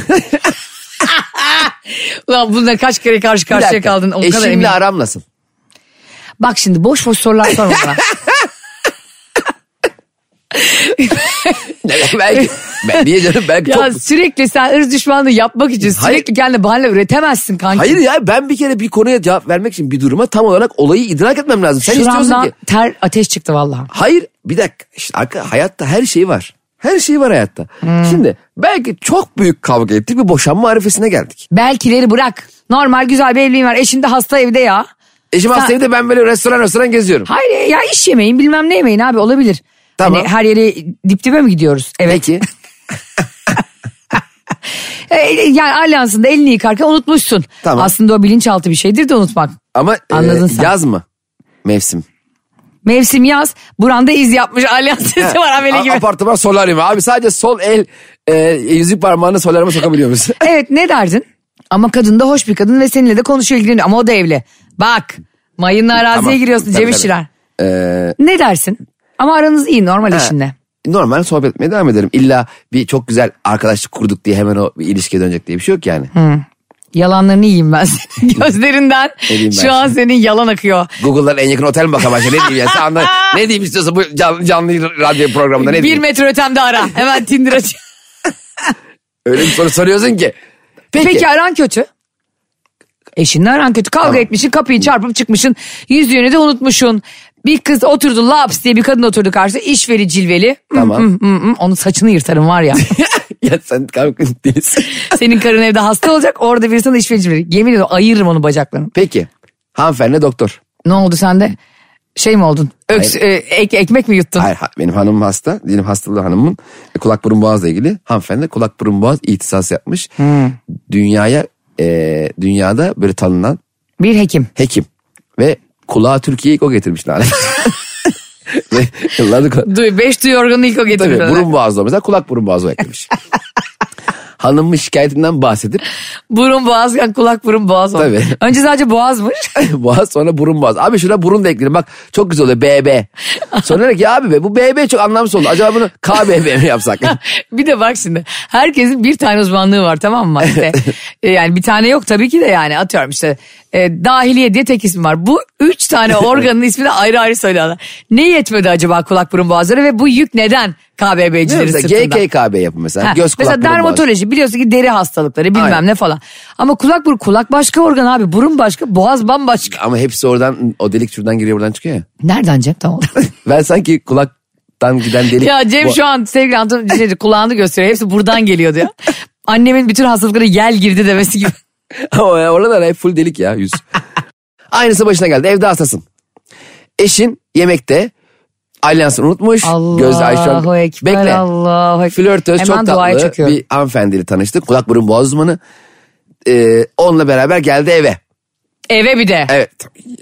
S2: Ulan bununla kaç kere karşı
S3: Bir
S2: karşıya
S3: dakika.
S2: kaldın? O kadar
S3: Eşimle
S2: eminim.
S3: E, aram nasıl?
S2: Bak şimdi boş boş sorular sorma bana.
S3: belki, ben, niye canım belki
S2: ya
S3: çok...
S2: sürekli sen ırz düşmanlığı yapmak için
S3: Hayır.
S2: sürekli kendine bahane üretemezsin kanki.
S3: Hayır ya ben bir kere bir konuya cevap vermek için bir duruma tam olarak olayı idrak etmem lazım. Sen istiyorsun
S2: Şuramdan
S3: ki.
S2: ter ateş çıktı vallahi.
S3: Hayır bir dakika. İşte arka- hayatta her şey var. Her şey var hayatta.
S2: Hmm.
S3: Şimdi belki çok büyük kavga ettik ve boşanma arifesine geldik.
S2: Belkileri bırak. Normal güzel bir evliliğin var. Eşin de E hasta evde ya.
S3: Eşim hastaydı E, da ben böyle restoran restoran geziyorum.
S2: Hayır e, ya iş yemeyin bilmem ne yemeyin abi olabilir.
S3: Tamam.
S2: Hani her yere dip dibe mi gidiyoruz? Evet.
S3: Peki.
S2: E, yani alyansında elini yıkarken unutmuşsun.
S3: Tamam.
S2: Aslında o bilinçaltı bir şeydir de unutmak.
S3: Ama e,
S2: Anladın sen.
S3: yaz mı? Mevsim.
S2: Mevsim yaz buranda iz yapmış alyans sesi var amele
S3: A-
S2: gibi.
S3: Apartman solaryum. Abi sadece sol el e, yüzük parmağını solaryuma sokabiliyor musun?
S2: evet ne derdin? Ama kadın da hoş bir kadın ve seninle de konuşuyor ilgileniyor ama o da evli. Bak mayınla araziye
S3: Tamam.
S2: giriyorsun
S3: Tabii,
S2: Cem
S3: tabii.
S2: Şirer.
S3: Ee,
S2: Ne dersin? Ama aranız iyi normal
S3: Ha.
S2: eşinle.
S3: normal sohbet etmeye devam ederim. İlla bir çok güzel arkadaşlık kurduk diye hemen o bir ilişkiye dönecek diye bir şey yok yani.
S2: Yalanlarını yiyeyim ben senin gözlerinden.
S3: Edeyim ben
S2: Şu an senin yalan akıyor.
S3: Google'dan en yakın otel mi bakalım Ayşe? Ne diyeyim yani? Sen anla, ne diyeyim istiyorsa bu canlı, canlı radyo programında ne
S2: bir
S3: diyeyim?
S2: metre ötemde ara. Hemen Tinder aç.
S3: Öyle bir soru soruyorsun ki. Peki.
S2: Peki aran kötü. Eşinle aran kötü. Kavga etmişsin kapıyı çarpıp çıkmışsın. Yüzüğünü de unutmuşsun. Bir kız oturdu laps diye bir kadın oturdu karşı işveri cilveli. Hmm,
S3: Tamam.
S2: hmm, hmm, hmm. Onun saçını yırtarım var ya.
S3: ya sen kanka değilsin.
S2: Senin karın evde hasta olacak orada biri sana işveri cilveli. Yemin ediyorum ayırırım onun bacaklarını.
S3: Peki. Hanımefendi doktor.
S2: Ne oldu sende? Şey mi oldun? Öks, e, ek- ekmek mi yuttun?
S3: Hayır ha- benim hanımım hasta. Benim hastalığı hanımımın e, kulak burun boğazla ilgili. Hanımefendi de kulak burun boğaz ihtisas yapmış. Dünyaya e, dünyada böyle tanınan
S2: Bir hekim.
S3: hekim. Ve kulağa Türkiye'yi ilk o getirmiş lanet. Ve yıllardır kula-
S2: Du beş duyu organını ilk o
S3: Tabii
S2: getiriyor.
S3: burun boğazı mesela kulak burun boğazı eklemiş. Hanımın şikayetinden bahsedip
S2: Burun boğaz, yani kulak burun boğaz oldu.
S3: Tabii.
S2: Önce sadece boğazmış.
S3: boğaz sonra burun boğaz. Abi şuna burun da ekleyelim bak çok güzel oluyor BB. Sonra dedik ya abi be bu BB çok anlamsız oldu. Acaba bunu KBB mi yapsak?
S2: bir de bak şimdi herkesin bir tane uzmanlığı var tamam mı? İşte, e, yani bir tane yok tabii ki de yani atıyorum işte e, dahiliye diye tek ismi var. Bu üç tane organın ismini ayrı ayrı söylüyorlar. Ne yetmedi acaba kulak burun boğazları ve bu yük neden
S3: Ne
S2: KBB'cilerin
S3: mesela
S2: sırtında?
S3: GKKB yapın mesela.
S2: Ha,
S3: Göz kulak
S2: mesela
S3: burun boğaz.
S2: dermatoloji biliyorsun ki deri hastalıkları bilmem
S3: Aynen.
S2: ne falan. Ama kulak burun kulak başka organ abi burun başka boğaz bambaşka.
S3: Ama hepsi oradan o delik şuradan giriyor buradan çıkıyor ya.
S2: Nereden Cem tamam.
S3: Ben sanki kulaktan giden delik.
S2: Ya Cem
S3: Bu-
S2: şu an sevgili Anton şey, kulağını gösteriyor. Hepsi buradan geliyor diyor. Annemin bütün hastalıkları yel girdi demesi gibi.
S3: Ama ya oralar hep full delik ya yüz. Aynısı başına geldi. Evde hastasın. Eşin yemekte alyansını unutmuş. Gözde Ayşe
S2: Allahu Ekber,
S3: Bekle.
S2: Allahu Ekber.
S3: Flörtöz
S2: Hemen
S3: çok
S2: duaya
S3: tatlı
S2: çöküyor.
S3: bir hanımefendiyle tanıştık. Kulak burun boğaz uzmanı. Ee, onunla beraber geldi eve.
S2: Eve bir de.
S3: Evet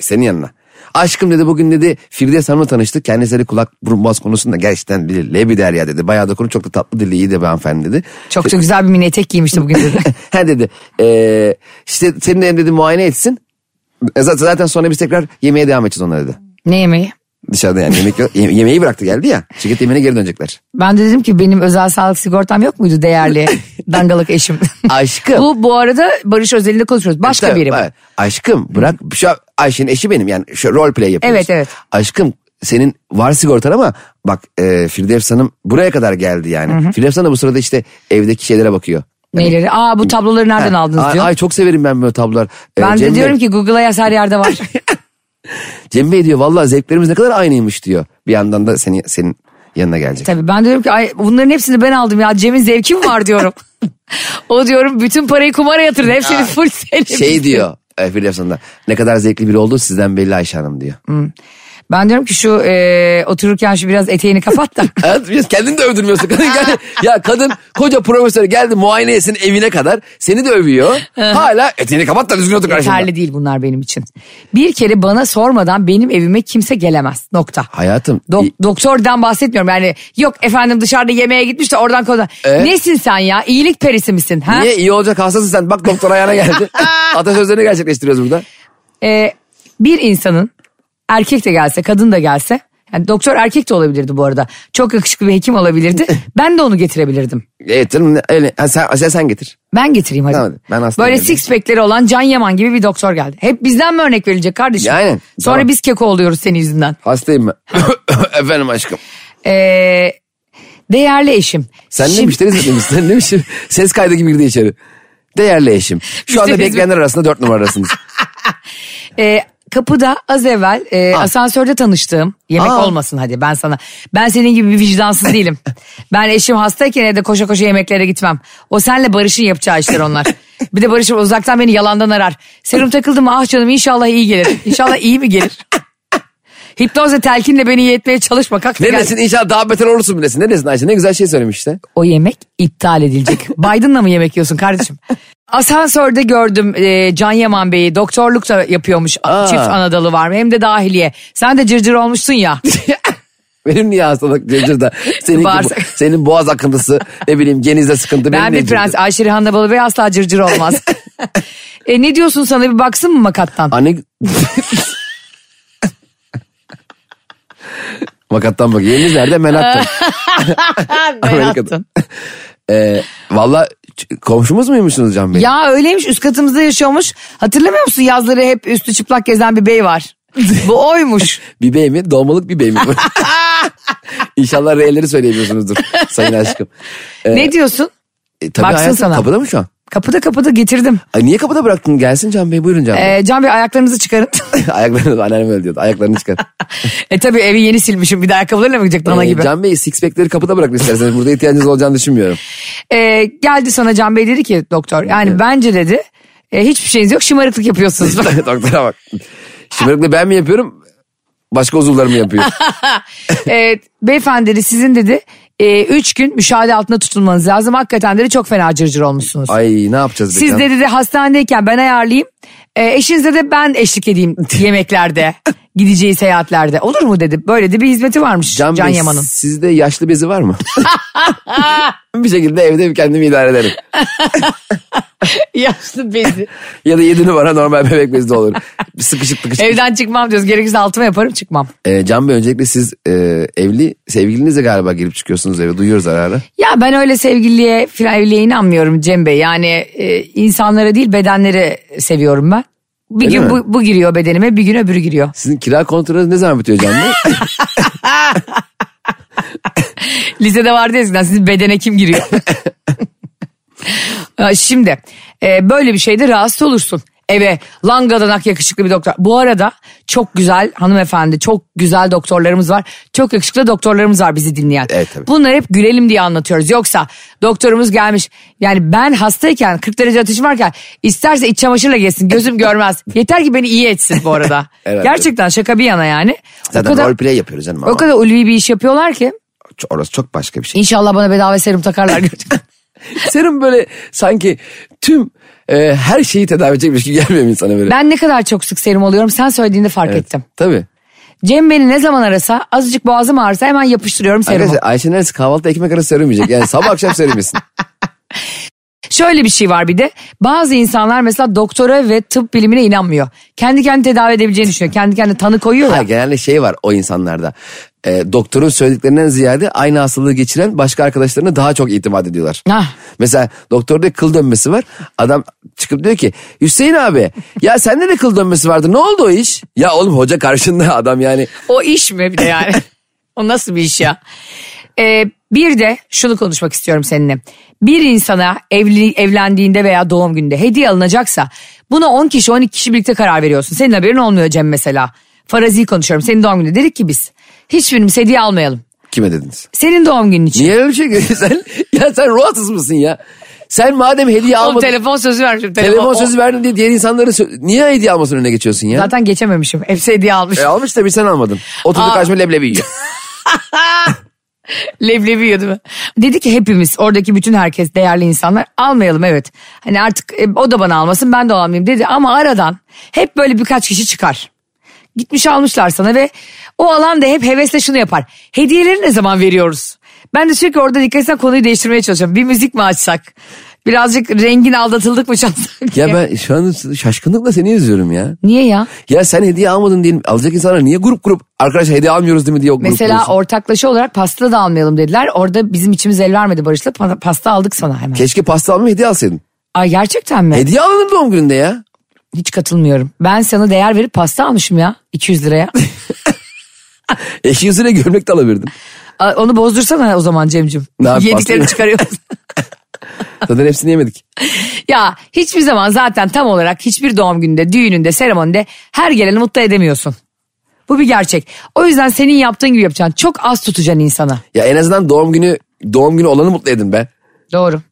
S3: senin yanına. Aşkım dedi bugün dedi Firdevs Hanım'la tanıştık. Kendisi de kulak burun boğaz konusunda gerçekten bir lebi der ya dedi. Bayağı da konu çok da tatlı dilli iyi de bir hanımefendi dedi.
S2: Çok çok güzel bir mini etek giymişti bugün dedi.
S3: ha dedi ee, işte senin hem dedi muayene etsin. E, zaten- Zaten sonra biz tekrar yemeğe devam edeceğiz onlara dedi.
S2: ne yemeği?
S3: Dışarıda yani yemek yok. Ye- yemeği bıraktı geldi ya. Şirket yemeğine geri dönecekler.
S2: Ben de dedim ki benim özel sağlık sigortam yok muydu değerli dangalık eşim?
S3: Aşkım. E,
S2: bu bu arada Barış Özel'le konuşuyoruz. Başka
S3: Tabii,
S2: biri bu.
S3: evet. Aşkım bırak. Şu an Ayşe'nin eşi benim yani şu rol play yapıyoruz.
S2: Evet, evet.
S3: Aşkım senin var sigortan ama bak e, Firdevs Hanım buraya kadar geldi yani. Firdevs Hanım da bu sırada işte evdeki şeylere bakıyor.
S2: Neyleri? Aa bu tabloları nereden
S3: Ha,
S2: aldınız
S3: ay,
S2: diyor.
S3: Ay çok severim ben böyle tablolar. E,
S2: ben
S3: Cem
S2: de
S3: Bey-
S2: diyorum ki Google'a yaz her yerde var.
S3: Cem Bey diyor vallahi zevklerimiz ne kadar aynıymış diyor. Bir yandan da seni, senin yanına gelecek.
S2: Tabii ben diyorum ki ay bunların hepsini ben aldım ya Cem'in zevki mi var diyorum. o diyorum bütün parayı kumara yatırdı. Hepsini full senin.
S3: Şey diyor e, Firdevs Hanım da ne kadar zevkli biri oldu sizden belli Ayşe Hanım diyor.
S2: Ben diyorum ki şu e, otururken şu biraz eteğini kapat da.
S3: Evet, biz kendini de övdürmüyorsun. Kadın geldi- ya kadın koca profesör geldi muayene etsin evine kadar. Seni de övüyor. Hala eteğini kapat da düzgün otur karşımda.
S2: Yeterli değil bunlar benim için. Bir kere bana sormadan benim evime kimse gelemez. Nokta.
S3: Hayatım.
S2: Dok-
S3: i-
S2: doktordan bahsetmiyorum yani yok efendim dışarıda yemeğe gitmiş de oradan konuda.
S3: Ee?
S2: Nesin sen ya iyilik perisi misin? Ha?
S3: Niye iyi olacak hastasın sen? Bak doktor ayağına geldi. Atasözlerini gerçekleştiriyoruz burada.
S2: Ee, bir insanın erkek de gelse kadın da gelse yani doktor erkek de olabilirdi bu arada. Çok yakışıklı bir hekim olabilirdi. ben de onu getirebilirdim.
S3: Evet canım ne- öyle. Ha, sen, sen, sen getir.
S2: Ben getireyim hadi.
S3: Tamam, ben aslında
S2: Böyle
S3: geldim.
S2: six pack'leri olan Can Yaman gibi bir doktor geldi. Hep bizden mi örnek verilecek kardeşim?
S3: Yani,
S2: Sonra
S3: tamam.
S2: biz keko oluyoruz senin yüzünden.
S3: Hastayım ben. Efendim aşkım.
S2: Ee, değerli eşim.
S3: Sen ne
S2: Şimdi-
S3: müşteri hizmetmişsin? Sen ne müşteri? Ses kaydı gibi girdi içeri. Değerli eşim. Şu anda
S2: Müşteri hizmet-
S3: bekleyenler arasında dört numara arasınız.
S2: E, kapıda az evvel e, asansörde tanıştığım yemek
S3: Ah. Aa.
S2: olmasın hadi ben sana ben senin gibi bir vicdansız değilim ben eşim hastayken evde koşa koşa yemeklere gitmem o senle Barış'ın yapacağı işler onlar Bir de Barış'ım uzaktan beni yalandan arar. Serum takıldı mı? Ah canım inşallah iyi gelir. İnşallah iyi mi gelir? Hipnozla telkinle beni iyi etmeye çalışma. Kalk
S3: Ne
S2: gel.
S3: desin inşallah daha beter olursun bilesin. Ne desin Ayşe ne güzel şey söylemiş işte.
S2: O yemek iptal edilecek. Biden'la mı yemek yiyorsun kardeşim? Asansörde gördüm e, Can Yaman Bey'i doktorluk da yapıyormuş.
S3: Aa.
S2: Çift Anadolu var mı? Hem de dahiliye. Sen de cırcır olmuşsun ya.
S3: Benim niye hastalık cırcır da senin,
S2: Bağırsak.
S3: senin boğaz akıntısı ne bileyim genizde sıkıntı benim
S2: ben
S3: ne
S2: bir
S3: cırcır?
S2: prens Ayşe Rihanna Balıbey asla cırcır olmaz. e, ne diyorsun sana bir baksın mı makattan?
S3: Anne... Makattan bak. Yeriniz nerede? Manhattan. Amerika'da. Ee, Valla ç- komşumuz muymuşsunuz Can Bey?
S2: Ya öyleymiş üst katımızda yaşıyormuş. Hatırlamıyor musun yazları hep üstü çıplak gezen bir bey var. Bu oymuş.
S3: Bir bey mi? Dolmalık bir bey mi? İnşallah reyleri söyleyemiyorsunuzdur sayın aşkım.
S2: ne diyorsun?
S3: E, tabii
S2: Baksın
S3: hayatım,
S2: sana.
S3: Kapıda mı şu an?
S2: Kapıda kapıda getirdim.
S3: Ay, niye kapıda bıraktın? Gelsin Can Bey buyurun Can Bey.
S2: E, Can Bey ayaklarınızı çıkarın.
S3: Ayaklarını anneannem öyle diyordu. Ayaklarını çıkar.
S2: e tabii evi yeni silmişim bir de ayakkabılarıyla mı gidecek dana
S3: Ee,
S2: gibi.
S3: Can Bey six pack'leri kapıda bırakın isterseniz. Burada ihtiyacınız olacağını düşünmüyorum.
S2: E, geldi sana Can Bey dedi ki doktor yani bence dedi e, hiçbir şeyiniz yok şımarıklık yapıyorsunuz.
S3: Doktora bak. Şımarıklığı ben mi yapıyorum? Başka uzuvlar mı yapıyor?
S2: e, beyefendi dedi sizin dedi e, üç gün müşahede altında tutulmanız lazım. Hakikaten dedi çok fena cırcır olmuşsunuz.
S3: Ay ne yapacağız be
S2: Siz
S3: Can?
S2: dedi de hastanedeyken ben ayarlayayım. E, eşinize de ben eşlik edeyim yemeklerde, gideceği seyahatlerde. Olur mu dedi. Böyle de bir hizmeti varmış Can,
S3: Can, Bey,
S2: Yaman'ın.
S3: Sizde yaşlı bezi var mı? bir şekilde evde kendimi idare ederim.
S2: Yaşlı bezi.
S3: Ya da 7 numara normal bebek bezi de olur. Bir sıkışık tıkışık.
S2: Evden çıkmam diyoruz. Gerekirse altıma yaparım çıkmam.
S3: Ee, Can Bey öncelikle siz e, evli sevgilinizle galiba girip çıkıyorsunuz eve. Duyuyoruz ara ara.
S2: Ya ben öyle sevgiliye filan evliliğe inanmıyorum Cem Bey. Yani e, insanlara değil bedenleri seviyorum ben. Bir
S3: Öyle
S2: gün
S3: mi?
S2: bu, bu giriyor bedenime bir gün öbürü giriyor.
S3: Sizin kira kontratınız ne zaman bitiyor Can Bey?
S2: Lisede vardı eskiden sizin bedene kim giriyor? Ha, Şimdi e, böyle bir şeyde rahatsız olursun. Eve langadanak yakışıklı bir doktor. Bu arada çok güzel hanımefendi, çok güzel doktorlarımız var. Çok yakışıklı doktorlarımız var bizi dinleyen.
S3: Evet, tabii.
S2: Bunları hep gülelim diye anlatıyoruz. Yoksa doktorumuz gelmiş. Yani ben hastayken 40 derece ateşim varken isterse iç çamaşırla geçsin gözüm görmez. Yeter ki beni iyi etsin bu arada.
S3: Evet,
S2: Gerçekten şaka bir yana yani.
S3: Zaten
S2: o kadar,
S3: role play yapıyoruz canım.
S2: o
S3: ama
S2: kadar ulvi bir iş yapıyorlar ki.
S3: ç- Orası çok başka bir şey.
S2: İnşallah bana bedava serum takarlar.
S3: Serum böyle sanki tüm e, her şeyi tedavi edecekmiş gibi gelmiyor mu insana böyle?
S2: ben ne kadar çok sık serum alıyorum sen söylediğinde fark ettim.
S3: Tabii.
S2: Cem beni ne zaman arasa azıcık boğazım ağrısa hemen yapıştırıyorum serumu.
S3: Arkadaşlar Ayşe neresi kahvaltıda ekmek arası serum yiyecek. Yani sabah akşam serum yesin.
S2: Şöyle bir şey var bir de bazı insanlar mesela doktora ve tıp bilimine inanmıyor. Kendi kendi tedavi edebileceğini düşünüyor. Kendi kendi tanı koyuyor
S3: Ha,
S2: ya.
S3: genelde şey var o insanlarda. E, doktorun söylediklerinden ziyade aynı hastalığı geçiren başka arkadaşlarına daha çok itimat ediyorlar.
S2: Hah.
S3: Mesela doktorda kıl dönmesi var. Adam çıkıp diyor ki Hüseyin abi ya sende de kıl dönmesi vardı ne oldu o iş? Ya oğlum hoca karşında adam yani.
S2: O iş mi bir de yani? o nasıl bir iş ya? Ee, bir de şunu konuşmak istiyorum seninle. Bir insana evli, evlendiğinde veya doğum günde hediye alınacaksa buna 10 kişi 12 kişi birlikte karar veriyorsun. Senin haberin olmuyor Cem mesela. Farazi konuşuyorum senin doğum gününde dedik ki biz hiçbirimiz hediye almayalım.
S3: Kime dediniz?
S2: Senin doğum günün için.
S3: Niye öyle bir şey görüyorsun? sen, ya sen ruhsuz mısın ya? Sen madem hediye
S2: Oğlum
S3: almadın.
S2: telefon sözü vermişim. Telefon, o-
S3: Telefon sözü verdin diye diğer insanları sö- niye hediye almasının önüne geçiyorsun ya?
S2: Zaten geçememişim. Hepsi hediye almış.
S3: E, almış da bir sen almadın. Oturdu
S2: Aa.
S3: karşıma leblebi yiyor.
S2: Leblebi yiyordu. be. Dedi ki hepimiz oradaki bütün herkes değerli insanlar almayalım evet. Hani artık e, o da bana almasın ben de o almayayım dedi. Ama aradan hep böyle birkaç kişi çıkar. Gitmiş almışlar sana ve o alan da hep hevesle şunu yapar. Hediyeleri ne zaman veriyoruz? Ben de sürekli orada dikkat etsen konuyu değiştirmeye çalışıyorum. Bir müzik mi açsak? Birazcık rengin aldatıldık mı çalsak diye.
S3: Ya ben şu an şaşkınlıkla seni izliyorum ya.
S2: Niye ya?
S3: Ya sen hediye almadın diyelim. Alacak insanlar niye grup grup arkadaş hediye almıyoruz değil mi diye o grup
S2: Mesela
S3: konuşuyor.
S2: ortaklaşa olarak pasta da almayalım dediler. Orada bizim içimiz el vermedi Barış'la. Pa- Pasta aldık sana hemen.
S3: Keşke pasta alma hediye alsaydın.
S2: Ay gerçekten mi?
S3: Hediye alınır doğum gününde ya.
S2: Hiç katılmıyorum. Ben sana değer verip pasta almışım ya 200 liraya.
S3: Eşi yüzüne gömlek de alabilirdin.
S2: A- Onu bozdursana o zaman Cem'cim.
S3: Ne yap-
S2: Yediklerini
S3: pastayı-
S2: çıkarıyoruz.
S3: Zaten hepsini yemedik.
S2: ya hiçbir zaman zaten tam olarak hiçbir doğum gününde, düğününde, seremonide her geleni mutlu edemiyorsun. Bu bir gerçek. O yüzden senin yaptığın gibi yapacaksın. Çok az tutacaksın insana.
S3: Ya en azından doğum günü doğum günü olanı mutlu edin be.
S2: Doğru.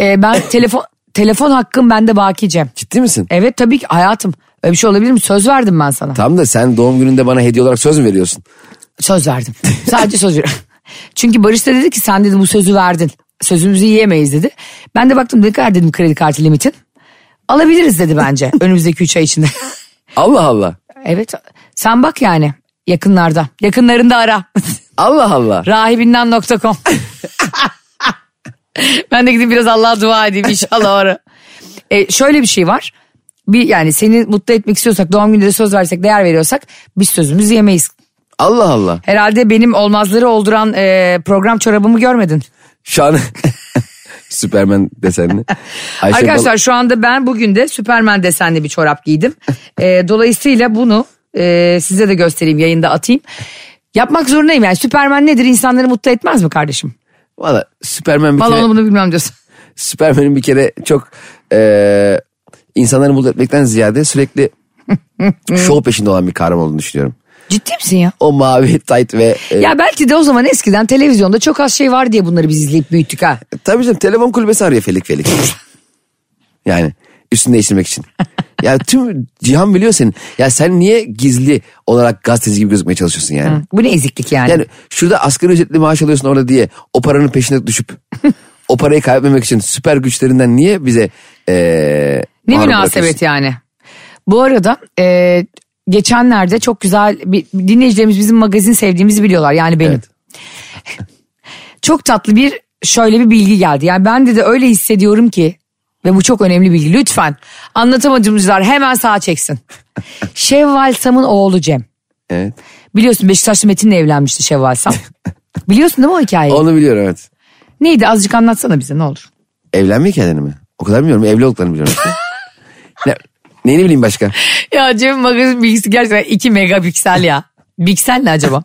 S2: Ee, ben telefon telefon hakkım bende Baki Cem.
S3: Ciddi misin?
S2: Evet tabii ki hayatım. Öyle bir şey olabilir mi? Söz verdim ben sana.
S3: Tam da sen doğum gününde bana hediye olarak söz mü veriyorsun?
S2: Söz verdim. Sadece söz verdim. Çünkü Barış da dedi ki sen dedi bu sözü verdin. Sözümüzü yiyemeyiz dedi. Ben de baktım ne kadar dedim kredi kartı limitin. Alabiliriz dedi bence önümüzdeki 3 ay içinde.
S3: Allah Allah.
S2: evet sen bak yani yakınlarda. Yakınlarında ara.
S3: Allah Allah.
S2: Rahibinden.com Ben de gidip biraz Allah'a dua edeyim inşallah ara. E, şöyle bir şey var. Bir yani seni mutlu etmek istiyorsak doğum gününde de söz versek değer veriyorsak biz sözümüzü yemeyiz.
S3: Allah Allah.
S2: Herhalde benim olmazları olduran e, program çorabımı görmedin.
S3: Şu an Süpermen desenli. Ayşe
S2: Arkadaşlar şu anda ben bugün de Superman desenli bir çorap giydim. E, dolayısıyla bunu e, size de göstereyim yayında atayım. Yapmak zorundayım yani Superman nedir insanları mutlu etmez mi kardeşim?
S3: Bal- Valla Süpermen bir
S2: Vallahi
S3: kere,
S2: onu bunu bilmem diyorsun.
S3: Süpermen'in bir kere çok eee insanları mutlu etmekten ziyade sürekli şov peşinde olan bir kahraman olduğunu düşünüyorum.
S2: Ciddi misin ya?
S3: O mavi tayt ve e, eee,
S2: Ya belki de o zaman eskiden televizyonda çok az şey var diye bunları biz izleyip büyüttük ha.
S3: Tabii canım telefon kulübesi arıyor Felik Felik. yani üstünü değiştirmek için. ya tüm cihan biliyor senin. Ya sen niye gizli olarak gazeteci gibi gözükmeye çalışıyorsun yani?
S2: Bu ne eziklik yani.
S3: Yani şurada asgari ücretli maaş alıyorsun orada diye o paranın peşine düşüp o parayı kaybetmemek için süper güçlerinden niye bize eee
S2: ne
S3: mahrum
S2: münasebet
S3: bırakıyorsun?
S2: yani. Bu arada e, geçenlerde çok güzel bir dinleyicilerimiz bizim magazin sevdiğimizi biliyorlar yani benim.
S3: Evet.
S2: çok tatlı bir şöyle bir bilgi geldi. Yani ben de de öyle hissediyorum ki ve bu çok önemli bilgi. Lütfen anlatamadığımızlar hemen sağa çeksin. Şevval Sam'ın oğlu Cem.
S3: Evet.
S2: Biliyorsun Beşiktaşlı Metin'le evlenmişti Şevval Sam. Biliyorsun değil mi o hikayeyi?
S3: Onu biliyorum evet.
S2: Neydi azıcık anlatsana bize ne olur.
S3: Evlenme hikayelerini mi? O kadar bilmiyorum. Evli olduklarını biliyorum. ne, neyini bileyim başka?
S2: Ya Cem magazin bilgisi gerçekten 2 megapiksel ya. Biksel ne acaba?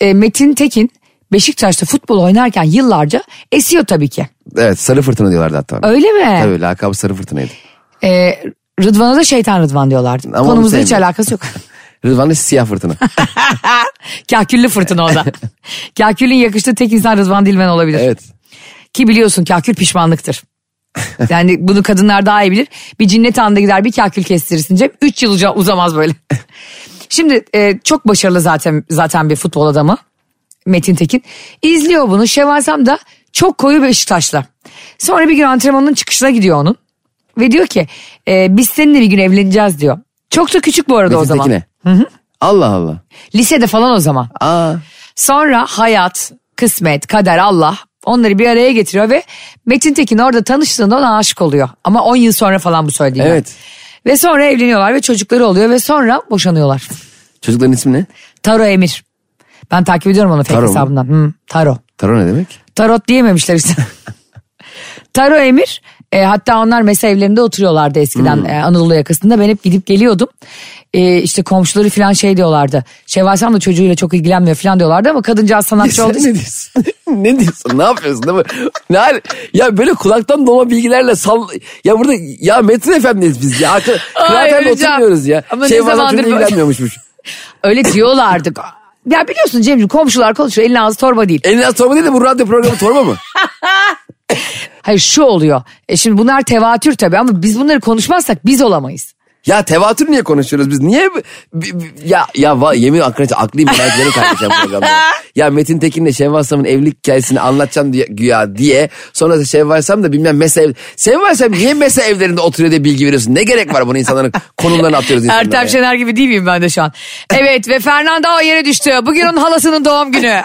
S2: E, Metin Tekin Beşiktaş'ta futbol oynarken yıllarca esiyor tabii ki.
S3: Evet sarı fırtına diyorlardı hatta. ona.
S2: Öyle mi?
S3: Tabii lakabı sarı fırtınaydı.
S2: E, Rıdvan'a da şeytan Rıdvan diyorlardı.
S3: onu
S2: Konumuzla hiç
S3: sevmiyorum.
S2: alakası yok.
S3: Rıdvan'da siyah fırtına.
S2: Kahküllü fırtına o da. Kahkülün yakıştığı tek insan Rıdvan Dilmen olabilir.
S3: evet.
S2: Ki biliyorsun kahkül pişmanlıktır. Yani bunu kadınlar daha iyi bilir. Bir cinnet anında gider bir kahkül kestirirsin Cem. Üç yıl uca- uzamaz böyle. Şimdi e, çok başarılı zaten zaten bir futbol adamı. Metin Tekin. İzliyor bunu. Şevval Sam da çok koyu Beşiktaşlı. Sonra bir gün antrenmanın çıkışına gidiyor onun. Ve diyor ki e, biz seninle bir gün evleneceğiz diyor. Çok da küçük bu arada o zaman.
S3: Metin'dekine. Allah Allah.
S2: Lisede falan o zaman.
S3: Aa,
S2: Sonra hayat, kısmet, kader, Allah onları bir araya getiriyor ve Metin Tekin orada tanıştığında ona aşık oluyor. Ama 10 yıl sonra falan bu söylediğim. yer.
S3: Evet.
S2: Ve sonra evleniyorlar ve çocukları oluyor ve sonra boşanıyorlar.
S3: çocukların ismi ne?
S2: Taro Emir. Ben takip ediyorum onu fake
S3: Taro mu?
S2: hesabından. Hı, taro.
S3: Taro ne demek?
S2: Tarot diyememişler işte. Taro Emir. e, hatta onlar mesela evlerinde oturuyorlardı eskiden
S3: Hmm.
S2: e, Anadolu yakasında. Ben hep gidip geliyordum. E, işte komşuları falan şey diyorlardı. Şevval Sam da çocuğuyla çok ilgilenmiyor falan diyorlardı ama kadıncağız sanatçı
S3: Sen
S2: olduğu
S3: ne
S2: için.
S3: diyorsun? ne diyorsun? Ne yapıyorsun? Değil mi? Ne hal? Ya böyle kulaktan dolma bilgilerle sal... Ya burada ya Metin Efendi'yiz biz ya. Arka, kıraathanede
S2: öleceğim.
S3: oturmuyoruz ya.
S2: Ama
S3: şey
S2: ne
S3: bazen
S2: zamandır
S3: cümle
S2: böyle-
S3: ilgilenmiyormuşmuş.
S2: Öyle diyorlardı. Ya biliyorsun Cemciğim komşular konuşuyor elin ağzı torba değil.
S3: Elinden torba değil de bu radyo programı torba mı?
S2: Hayır şu oluyor. E şimdi bunlar tevatür tabii ama biz bunları konuşmazsak biz olamayız.
S3: ya tevatür niye konuşuyoruz biz? Niye? bu- bi- bi- Ya ya va- yemin aklına aklıyım ben yeni kalkacağım programda. Ya Metin Tekin'le Şevval Sam'ın evlilik hikayesini anlatacağım diye, güya diye. Sonra da Şevval Sam da bilmem mesa ev... Şevval Sam niye mesa evlerinde oturuyor diye bilgi veriyorsun? Ne gerek var bunu insanların konumlarını atıyoruz insanlara.
S2: Ertem
S3: ya?
S2: Şener gibi değil miyim ben de şu an? Evet ve Fernanda o yere düştü. Bugün onun halasının doğum günü.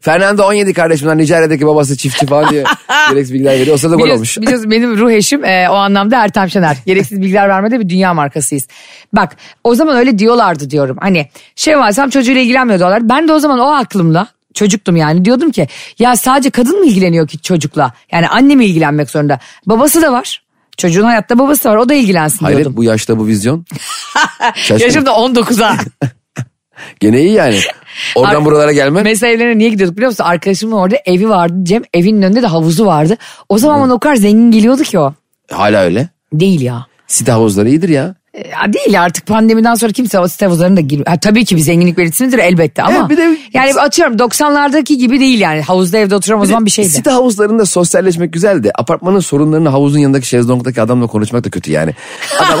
S3: Fernando 17 kardeşimden Nijerya'daki babası çiftçi falan diye gereksiz bilgiler veriyor. O sırada gol
S2: Biliyorsun-
S3: olmuş.
S2: biliyorsun benim ruh eşim e, o anlamda Ertem Şener. Gereksiz bilgiler vermede bir dünya markasıyız. Bak o zaman öyle diyorlardı diyorum. Hani şey varsam çocuğuyla ilgilenmiyor diyorlar. Ben de o zaman o aklımla çocuktum yani diyordum ki ya sadece kadın mı ilgileniyor ki çocukla? Yani anne mi ilgilenmek zorunda? Babası da var. Çocuğun hayatta babası da var o da ilgilensin
S3: Hayret
S2: diyordum.
S3: bu yaşta bu vizyon. Şaşkın.
S2: Yaşım da 19'a.
S3: Gene iyi yani. Oradan
S2: Ar-
S3: buralara gelme.
S2: Mesela evlerine niye gidiyorduk biliyor musun? Arkadaşımın orada evi vardı. Cem evinin önünde de havuzu vardı. O zaman bana o kadar zengin geliyordu ki o.
S3: Hala öyle.
S2: Değil ya.
S3: Site havuzları iyidir ya.
S2: Ya değil artık pandemiden sonra kimse o site pazarına da girmiyor. Ha, tabii ki bir zenginlik belirtisindir elbette ama.
S3: Evet, bir de-
S2: yani açıyorum 90'lardaki gibi değil yani. Havuzda evde oturan o zaman bir şeydi.
S3: Site havuzlarında sosyalleşmek güzeldi. Apartmanın sorunlarını havuzun yanındaki şezlongdaki adamla konuşmak da kötü yani. Adam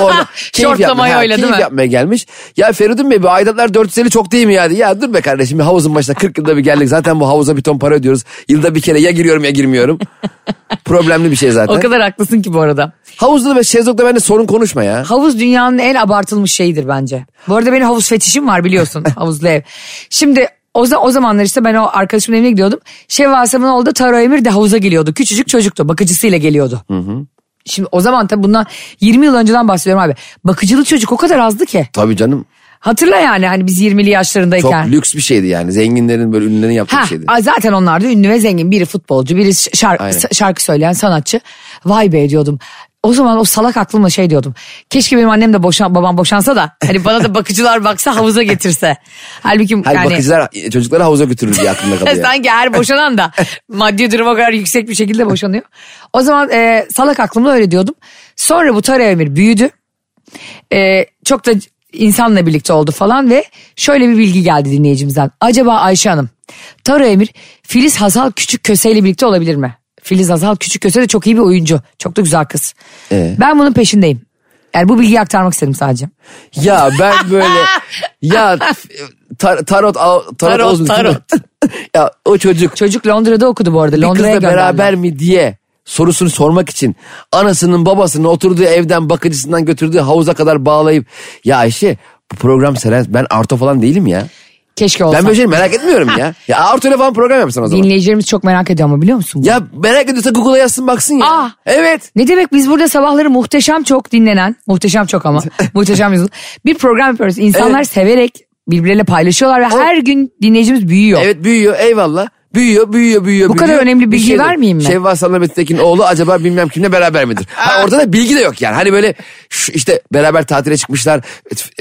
S3: orada keyif, yapmaya,
S2: Şortlamayı
S3: ha,
S2: öyle değil
S3: keyif
S2: mi?
S3: yapmaya gelmiş. Ya Feridun Bey bir aidatlar 450 çok değil mi ya? diye. Ya dur be kardeşim bir havuzun başına 40 yılda bir geldik. Zaten bu havuza bir ton para ödüyoruz. Yılda bir kere ya giriyorum ya girmiyorum. Problemli bir şey zaten.
S2: O kadar haklısın ki bu arada.
S3: Havuzda ve şezlongda bende sorun konuşma ya.
S2: Havuz dünyanın en abartılmış şeyidir bence. Bu arada benim havuz fetişim var biliyorsun havuzlu ev. Şimdi o, za- o zamanlar işte ben o arkadaşımın evine gidiyordum. Şevva Asam'ın oğlu da Taro Emir de havuza geliyordu. Küçücük çocuktu bakıcısıyla geliyordu. Şimdi o zaman tabii bundan 20 yıl önceden bahsediyorum abi. Bakıcılı çocuk o kadar azdı ki.
S3: Tabii canım.
S2: Hatırla yani hani biz 20'li
S3: Çok
S2: yaşlarındayken.
S3: lüks bir şeydi yani. Zenginlerin böyle ünlülerin yaptığı
S2: Ha,
S3: bir şeydi.
S2: a- zaten onlar da ünlü ve zengin. Biri futbolcu, biri ş- şarkı,
S3: şey Aynen.
S2: s- şarkı söyleyen sanatçı. Vay be diyordum. O zaman o salak aklımla şey diyordum. Keşke benim annem de boşan, babam boşansa da hani bana da bakıcılar baksa havuza getirse. Halbuki
S3: Hayır
S2: yani
S3: bakıcılar e, çocukları havuza götürür diye aklımda kalıyor.
S2: sanki her boşanan da maddi durum o kadar yüksek bir şekilde boşanıyor. O zaman e, salak aklımla öyle diyordum. Sonra bu Tara Emir büyüdü. E, çok da insanla birlikte oldu falan ve şöyle bir bilgi geldi dinleyicimizden. Acaba Ayşe Hanım, Tara Emir Filiz Hazal Küçük Köse ile birlikte olabilir mi? Filiz Hazal Küçük Köse de çok iyi bir oyuncu. Çok da güzel kız.
S3: Ee?
S2: Ben bunun peşindeyim. Yani bu bilgiyi aktarmak istedim sadece.
S3: Ya ben böyle ya tar- tarot av- tarot,
S2: Tarot,
S3: Oğuz mu?
S2: tarot.
S3: ya o çocuk
S2: Çocuk Londra'da okudu bu arada.
S3: bir
S2: Londra'ya
S3: kızla
S2: gönderdiler.
S3: beraber mi diye sorusunu sormak için anasının babasının oturduğu evden bakıcısından götürdüğü havuza kadar bağlayıp ya Ayşe bu program serer ben Arto falan değilim ya.
S2: Keşke olsa.
S3: Ben böyle şey merak etmiyorum ya. Ya Arto ile falan program yapsan o zaman.
S2: Dinleyicilerimiz çok merak ediyor ama biliyor musun?
S3: Ya merak ediyorsa Google'a yazsın baksın ya.
S2: Ah!
S3: Evet.
S2: Ne demek biz burada sabahları muhteşem çok dinlenen, muhteşem çok ama, muhteşem yüzyıl. Bir program yapıyoruz. İnsanlar
S3: Evet.
S2: severek birbirleriyle paylaşıyorlar ve her gün dinleyicimiz büyüyor.
S3: Evet büyüyor eyvallah. Büyüyor, büyüyor, büyüyor.
S2: Bu kadar
S3: büyüyor.
S2: önemli bilgi
S3: de-
S2: vermeyeyim mi?
S3: Şevva Sallan Metin'dekinin oğlu acaba bilmem kimle beraber midir? Ha, orada da bilgi de yok yani. Hani böyle şu işte beraber tatile çıkmışlar,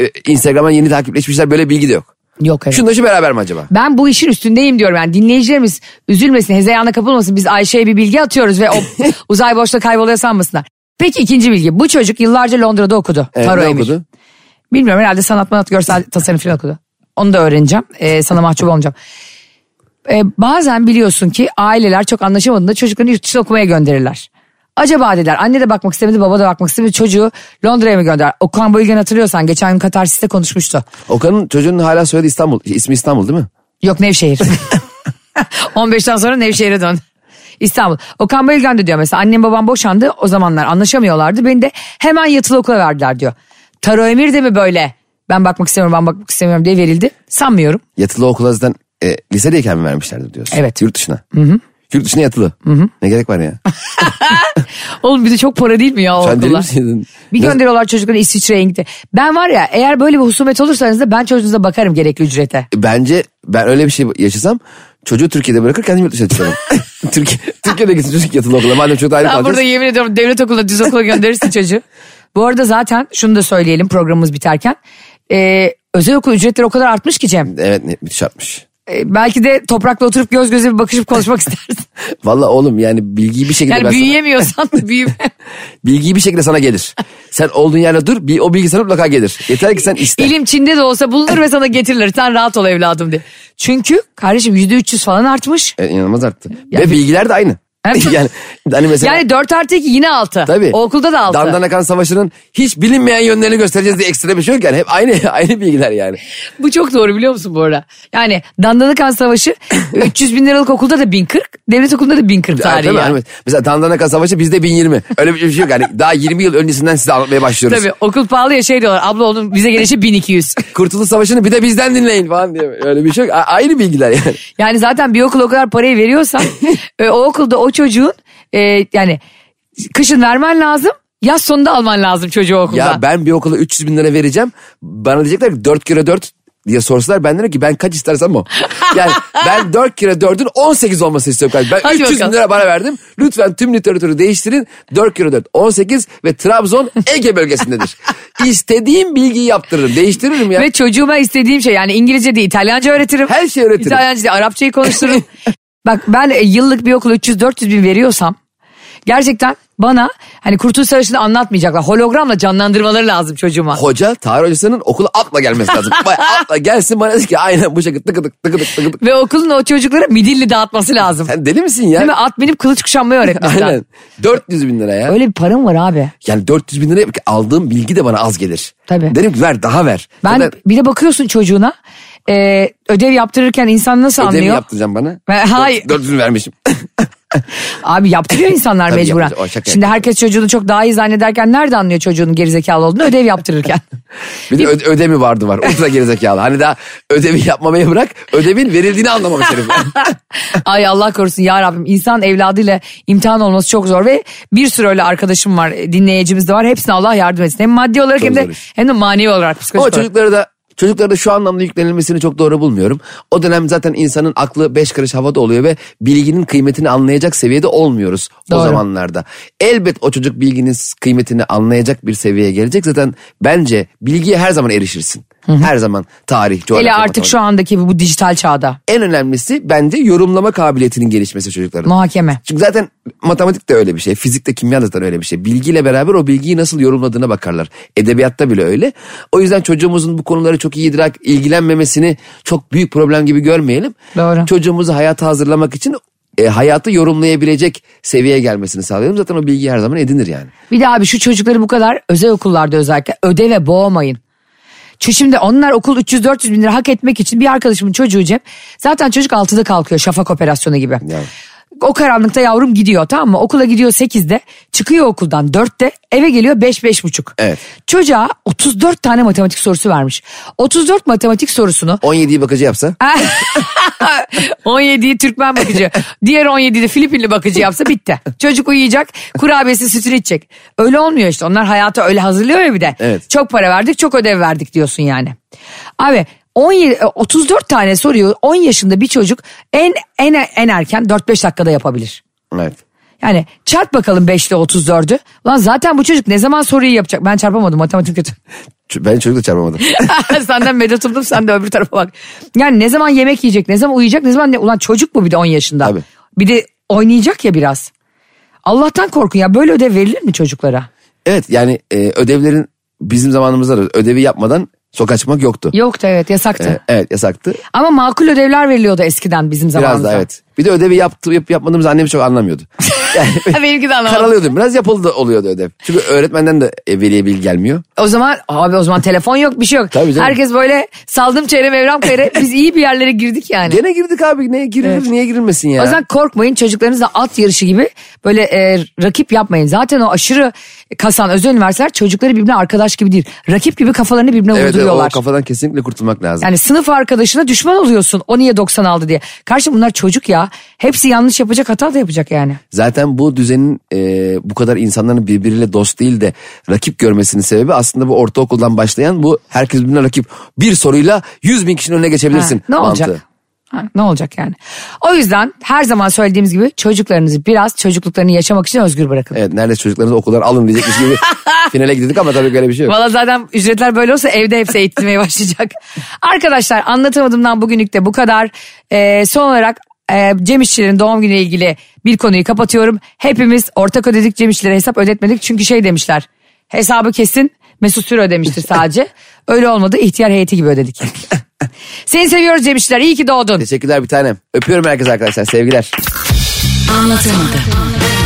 S3: e, Instagram'a yeni takipleşmişler böyle bilgi de yok.
S2: Yok evet.
S3: Şunda şu beraber mi acaba?
S2: Ben bu işin üstündeyim diyorum yani dinleyicilerimiz üzülmesin, hezeyana kapılmasın. Biz Ayşe'ye bir bilgi atıyoruz ve o uzay boşta kayboluyor sanmasınlar. Peki ikinci bilgi. Bu çocuk yıllarca Londra'da okudu.
S3: Ee,
S2: Taro
S3: ne
S2: Emir.
S3: okudu?
S2: Bilmiyorum herhalde sanat manat görsel tasarım falan okudu. Onu da öğreneceğim. Ee, sana mahcup olmayacağım. Ee, bazen biliyorsun ki aileler çok anlaşamadığında çocuklarını yurt dışına okumaya gönderirler. Acaba dediler anne de bakmak istemedi baba da bakmak istemedi çocuğu Londra'ya mı gönder? Okan Bayülgen hatırlıyorsan geçen gün Katarsis'te konuşmuştu.
S3: Okan'ın çocuğunun hala soyadı İstanbul. ismi İstanbul değil mi?
S2: Yok Nevşehir. 15'ten sonra Nevşehir'e dön. İstanbul. Okan Bayülgen de diyor mesela annem babam boşandı o zamanlar anlaşamıyorlardı. Beni de hemen yatılı okula verdiler diyor. Taro Emir de mi böyle? Ben bakmak istemiyorum ben bakmak istemiyorum diye verildi. Sanmıyorum.
S3: Yatılı okula zaten e, lisedeyken mi vermişlerdi diyorsun?
S2: Evet.
S3: Yurt dışına. Yurt dışına yatılı. Ne gerek var ya?
S2: Oğlum bir de çok para değil mi ya o
S3: Sen deli
S2: okullar?
S3: misin?
S2: Bir gönderiyorlar çocukları İsviçre'ye İngiltere. Ben var ya eğer böyle bir husumet olursa aranızda ben çocuğunuza bakarım gerekli ücrete.
S3: bence ben öyle bir şey yaşasam çocuğu Türkiye'de bırakır kendim yurt dışına çıkarım. Türkiye, Türkiye'de gitsin çocuk yatılı okula. Madem çocuk da ayrı
S2: Ben
S3: kalacağız.
S2: burada yemin ediyorum devlet okuluna düz okula gönderirsin çocuğu. Bu arada zaten şunu da söyleyelim programımız biterken. Ee, özel okul ücretleri o kadar artmış ki Cem.
S3: Evet ne, müthiş atmış.
S2: Ee, belki de toprakla oturup göz göze bir bakışıp konuşmak istersin.
S3: Valla oğlum yani bilgiyi bir şekilde
S2: Yani
S3: ben sana-
S2: büyüyemiyorsan büyüme.
S3: bilgiyi bir şekilde sana gelir. Sen olduğun yerde dur bir, o bilgi sana mutlaka gelir. Yeter ki sen iste.
S2: İlim Çin'de de olsa bulunur ve sana getirilir. Sen rahat ol evladım diye. Çünkü kardeşim yüzde 300 falan artmış.
S3: E, inanılmaz arttı.
S2: Yani-
S3: Ve bilgiler de aynı.
S2: Evet.
S3: yani hani mesela
S2: Yani 4 artı 2 yine 6.
S3: tabii.
S2: O okulda da 6.
S3: Dandanakan Savaşı'nın hiç bilinmeyen yönlerini göstereceğiz diye ekstra bir şey yok yani. Hep aynı aynı bilgiler yani.
S2: Bu çok doğru biliyor musun bu arada? Yani Dandanakan Savaşı 300 bin liralık okulda da 1040. Devlet okulunda da 1040
S3: Tabii,
S2: tarihi. yani.
S3: yani. Mesela Dandanakan Savaşı bizde 1020. Öyle bir şey yok yani. Daha 20 yıl öncesinden size anlatmaya başlıyoruz.
S2: Tabii okul pahalı ya şey diyorlar abla onun bize gelişi 1200.
S3: Kurtuluş Savaşı'nı bir de bizden dinleyin falan diye. Öyle bir şey yok. A- aynı bilgiler yani.
S2: Yani zaten bir okul o kadar parayı veriyorsan e, o okulda o çocuğun e, yani kışın vermen lazım yaz sonunda alman lazım çocuğu okulda.
S3: Ya ben bir okula 300 bin lira vereceğim. Bana diyecekler ki 4 kere 4 diye sorsalar ben derim ki ben kaç istersem o. Yani ben 4 kere 4'ün 18 olması istiyorum. kardeşim. Ben
S2: Hadi
S3: 300
S2: bakalım.
S3: bin lira bana verdim. Lütfen tüm literatürü değiştirin. 4 kere 4 18 ve Trabzon Ege bölgesindedir. İstediğim bilgiyi yaptırırım. Değiştiririm ya.
S2: Ve çocuğuma istediğim şey yani İngilizce değil İtalyanca öğretirim.
S3: Her şeyi öğretirim.
S2: İtalyanca değil Arapçayı konuştururum. Bak ben e, yıllık bir okula 300-400 bin veriyorsam gerçekten bana hani Kurtuluş Savaşı'nı anlatmayacaklar. Hologramla canlandırmaları lazım çocuğuma.
S3: Hoca tarih hocasının okula atla gelmesi lazım. Baya atla gelsin bana desin ki aynen bu şekilde tıkı tık tıkı tık tıkı tık.
S2: Ve okulun o çocuklara midilli dağıtması lazım.
S3: Sen deli misin ya?
S2: Değil mi? At binip kılıç kuşanmayı öğretmişler.
S3: Aynen. 400 bin lira ya.
S2: Öyle bir param var abi.
S3: Yani 400 bin liraya aldığım bilgi de bana az gelir.
S2: Tabii.
S3: Derim ki ver daha ver.
S2: Ben
S3: Zaten
S2: bir de bakıyorsun çocuğuna e, ödev yaptırırken insan nasıl
S3: ödev mi
S2: anlıyor?
S3: yaptıracağım bana?
S2: Ve- hayır.
S3: 400 vermişim.
S2: Abi yaptırıyor insanlar
S3: Tabii
S2: mecburen.
S3: yaptırıyor. O şaka
S2: Şimdi
S3: yapıyor.
S2: herkes çocuğunu çok daha iyi zannederken nerede anlıyor çocuğunun gerizekalı olduğunu ödev yaptırırken.
S3: Bir de öde, ödemi vardı var. O da gerizekalı. Hani daha ödevi yapmamayı bırak. Ödevin verildiğini anlamamış herif.
S2: Ay Allah korusun ya Rabbim insan evladıyla imtihan olması çok zor ve bir sürü öyle arkadaşım var dinleyicimiz de var hepsine Allah yardım etsin. Hem maddi olarak
S3: Çok
S2: hem de
S3: zor iş.
S2: hem de manevi olarak
S3: Ama
S2: psikolojik olarak.
S3: çocuklara da Çocuklara da şu anlamda yüklenilmesini çok doğru bulmuyorum. O dönem zaten insanın aklı beş karış havada oluyor ve bilginin kıymetini anlayacak seviyede olmuyoruz
S2: Doğru.
S3: o zamanlarda. Elbet o çocuk bilginin kıymetini anlayacak bir seviyeye gelecek. Zaten bence bilgiye her zaman erişirsin. Her zaman tarih, coğrafya.
S2: Hele artık
S3: matematik.
S2: şu andaki bu dijital çağda
S3: En önemlisi bence yorumlama kabiliyetinin gelişmesi çocukların.
S2: muhakeme.
S3: Çünkü zaten matematik de öyle bir şey. Fizik de kimya da zaten öyle bir şey. Bilgiyle beraber o bilgiyi nasıl yorumladığına bakarlar. Edebiyatta bile öyle. O yüzden çocuğumuzun bu konuları çok iyi idrak ilgilenmemesini çok büyük problem gibi görmeyelim.
S2: Doğru.
S3: Çocuğumuzu hayata hazırlamak için e, hayatı yorumlayabilecek seviyeye gelmesini sağlayalım. Zaten o bilgi her zaman edinir yani.
S2: Bir de abi şu çocukları bu kadar özel okullarda özellikle ödeve boğmayın. Çünkü şimdi onlar okul 300-400 bin lira hak etmek için bir arkadaşımın çocuğu Cem. Zaten çocuk 6'da kalkıyor şafak operasyonu gibi.
S3: Ya.
S2: O karanlıkta yavrum gidiyor tamam mı? Okula gidiyor 8'de çıkıyor okuldan 4'te eve geliyor 5-5.30.
S3: Evet.
S2: Çocuğa 34 tane matematik sorusu vermiş. 34 matematik sorusunu
S3: 17'yi bakıcı yapsa
S2: 17'yi Türkmen bakıcı. Diğer 17'yi de Filipinli bakıcı yapsa bitti. Çocuk uyuyacak, kurabiyesi sütünü içecek. Öyle olmuyor işte. Onlar hayata öyle hazırlıyor ya bir de.
S3: Evet.
S2: Çok para verdik, çok ödev verdik diyorsun yani. Abi 17, e, 34 tane soruyu 10 yaşında bir çocuk en en en erken 4-5 dakikada yapabilir.
S3: evet.
S2: Yani çarp bakalım 5 ile 34'ü. Lan zaten bu çocuk ne zaman soruyu yapacak? Ben çarpamadım matematik kötü.
S3: Ç- Ben çocuk da çarpamadım.
S2: Senden medet umdum sen de öbür tarafa bak. Yani ne zaman yemek yiyecek, ne zaman uyuyacak, ne zaman ne... Ulan çocuk mu bir de 10 yaşında.
S3: Tabii.
S2: Bir de oynayacak ya biraz. Allah'tan korkun ya böyle ödev verilir mi çocuklara?
S3: evet yani e, ödevlerin bizim zamanımızda da ödevi yapmadan sokağa çıkmak yoktu.
S2: Yoktu evet yasaktı.
S3: E, evet yasaktı.
S2: Ama makul ödevler veriliyordu eskiden bizim
S3: Biraz
S2: zamanımızda.
S3: da evet. Bir de ödevi yaptı, yap, yapmadığımızı annem çok anlamıyordu. Yani
S2: Benimki de anlamadım.
S3: karalıyordum. Biraz yapıldı oluyordu ödev. Çünkü öğretmenden de e, veliye bilgi gelmiyor.
S2: O zaman abi o zaman telefon yok bir şey yok.
S3: Tabii canım.
S2: Herkes böyle saldım çeyrem evram kayre biz iyi bir yerlere girdik yani.
S3: Gene girdik abi. Ne girilir, niye girilmesin ya?
S2: O yüzden korkmayın çocuklarınızla at yarışı gibi böyle e, rakip yapmayın. Zaten o aşırı kasan özel üniversiteler çocukları birbirine arkadaş gibi değil. Rakip gibi kafalarını birbirine
S3: evet, evet, o
S2: vurduruyorlar.
S3: kafadan kesinlikle kurtulmak lazım.
S2: Yani sınıf arkadaşına düşman oluyorsun. O niye 90 aldı diye. Karşı bunlar çocuk ya. Hepsi yanlış yapacak hata da yapacak yani.
S3: Zaten bu düzenin e, bu kadar insanların birbiriyle dost değil de rakip görmesinin sebebi aslında bu ortaokuldan başlayan bu herkes birbirine rakip. Bir soruyla 100 bin kişinin önüne
S2: Ha,
S3: geçebilirsin.
S2: ne olacak?
S3: mantığı.
S2: Ha, ne olacak yani? O yüzden her zaman söylediğimiz gibi çocuklarınızı biraz çocukluklarını yaşamak için özgür bırakın.
S3: Evet nerede çocuklarınızı okuldan alın diyecekmiş gibi finale gidiyorduk ama tabii böyle bir şey yok.
S2: Valla zaten ücretler böyle olsa evde hepsi eğitilmeye başlayacak. Arkadaşlar anlatamadığımdan bugünlük de bu kadar. Ee, son olarak e, Cem İşçilerin doğum günüyle ilgili bir konuyu kapatıyorum. Hepimiz ortak ödedik Cem İşçilere hesap ödetmedik çünkü şey demişler. Hesabı kesin Mesut Süre ödemiştir sadece. Öyle olmadı ihtiyar heyeti gibi ödedik. Seni seviyoruz Cem İşçiler iyi ki doğdun.
S3: Teşekkürler bir tanem. Öpüyorum herkes arkadaşlar. Sevgiler.
S4: Anlatamadım.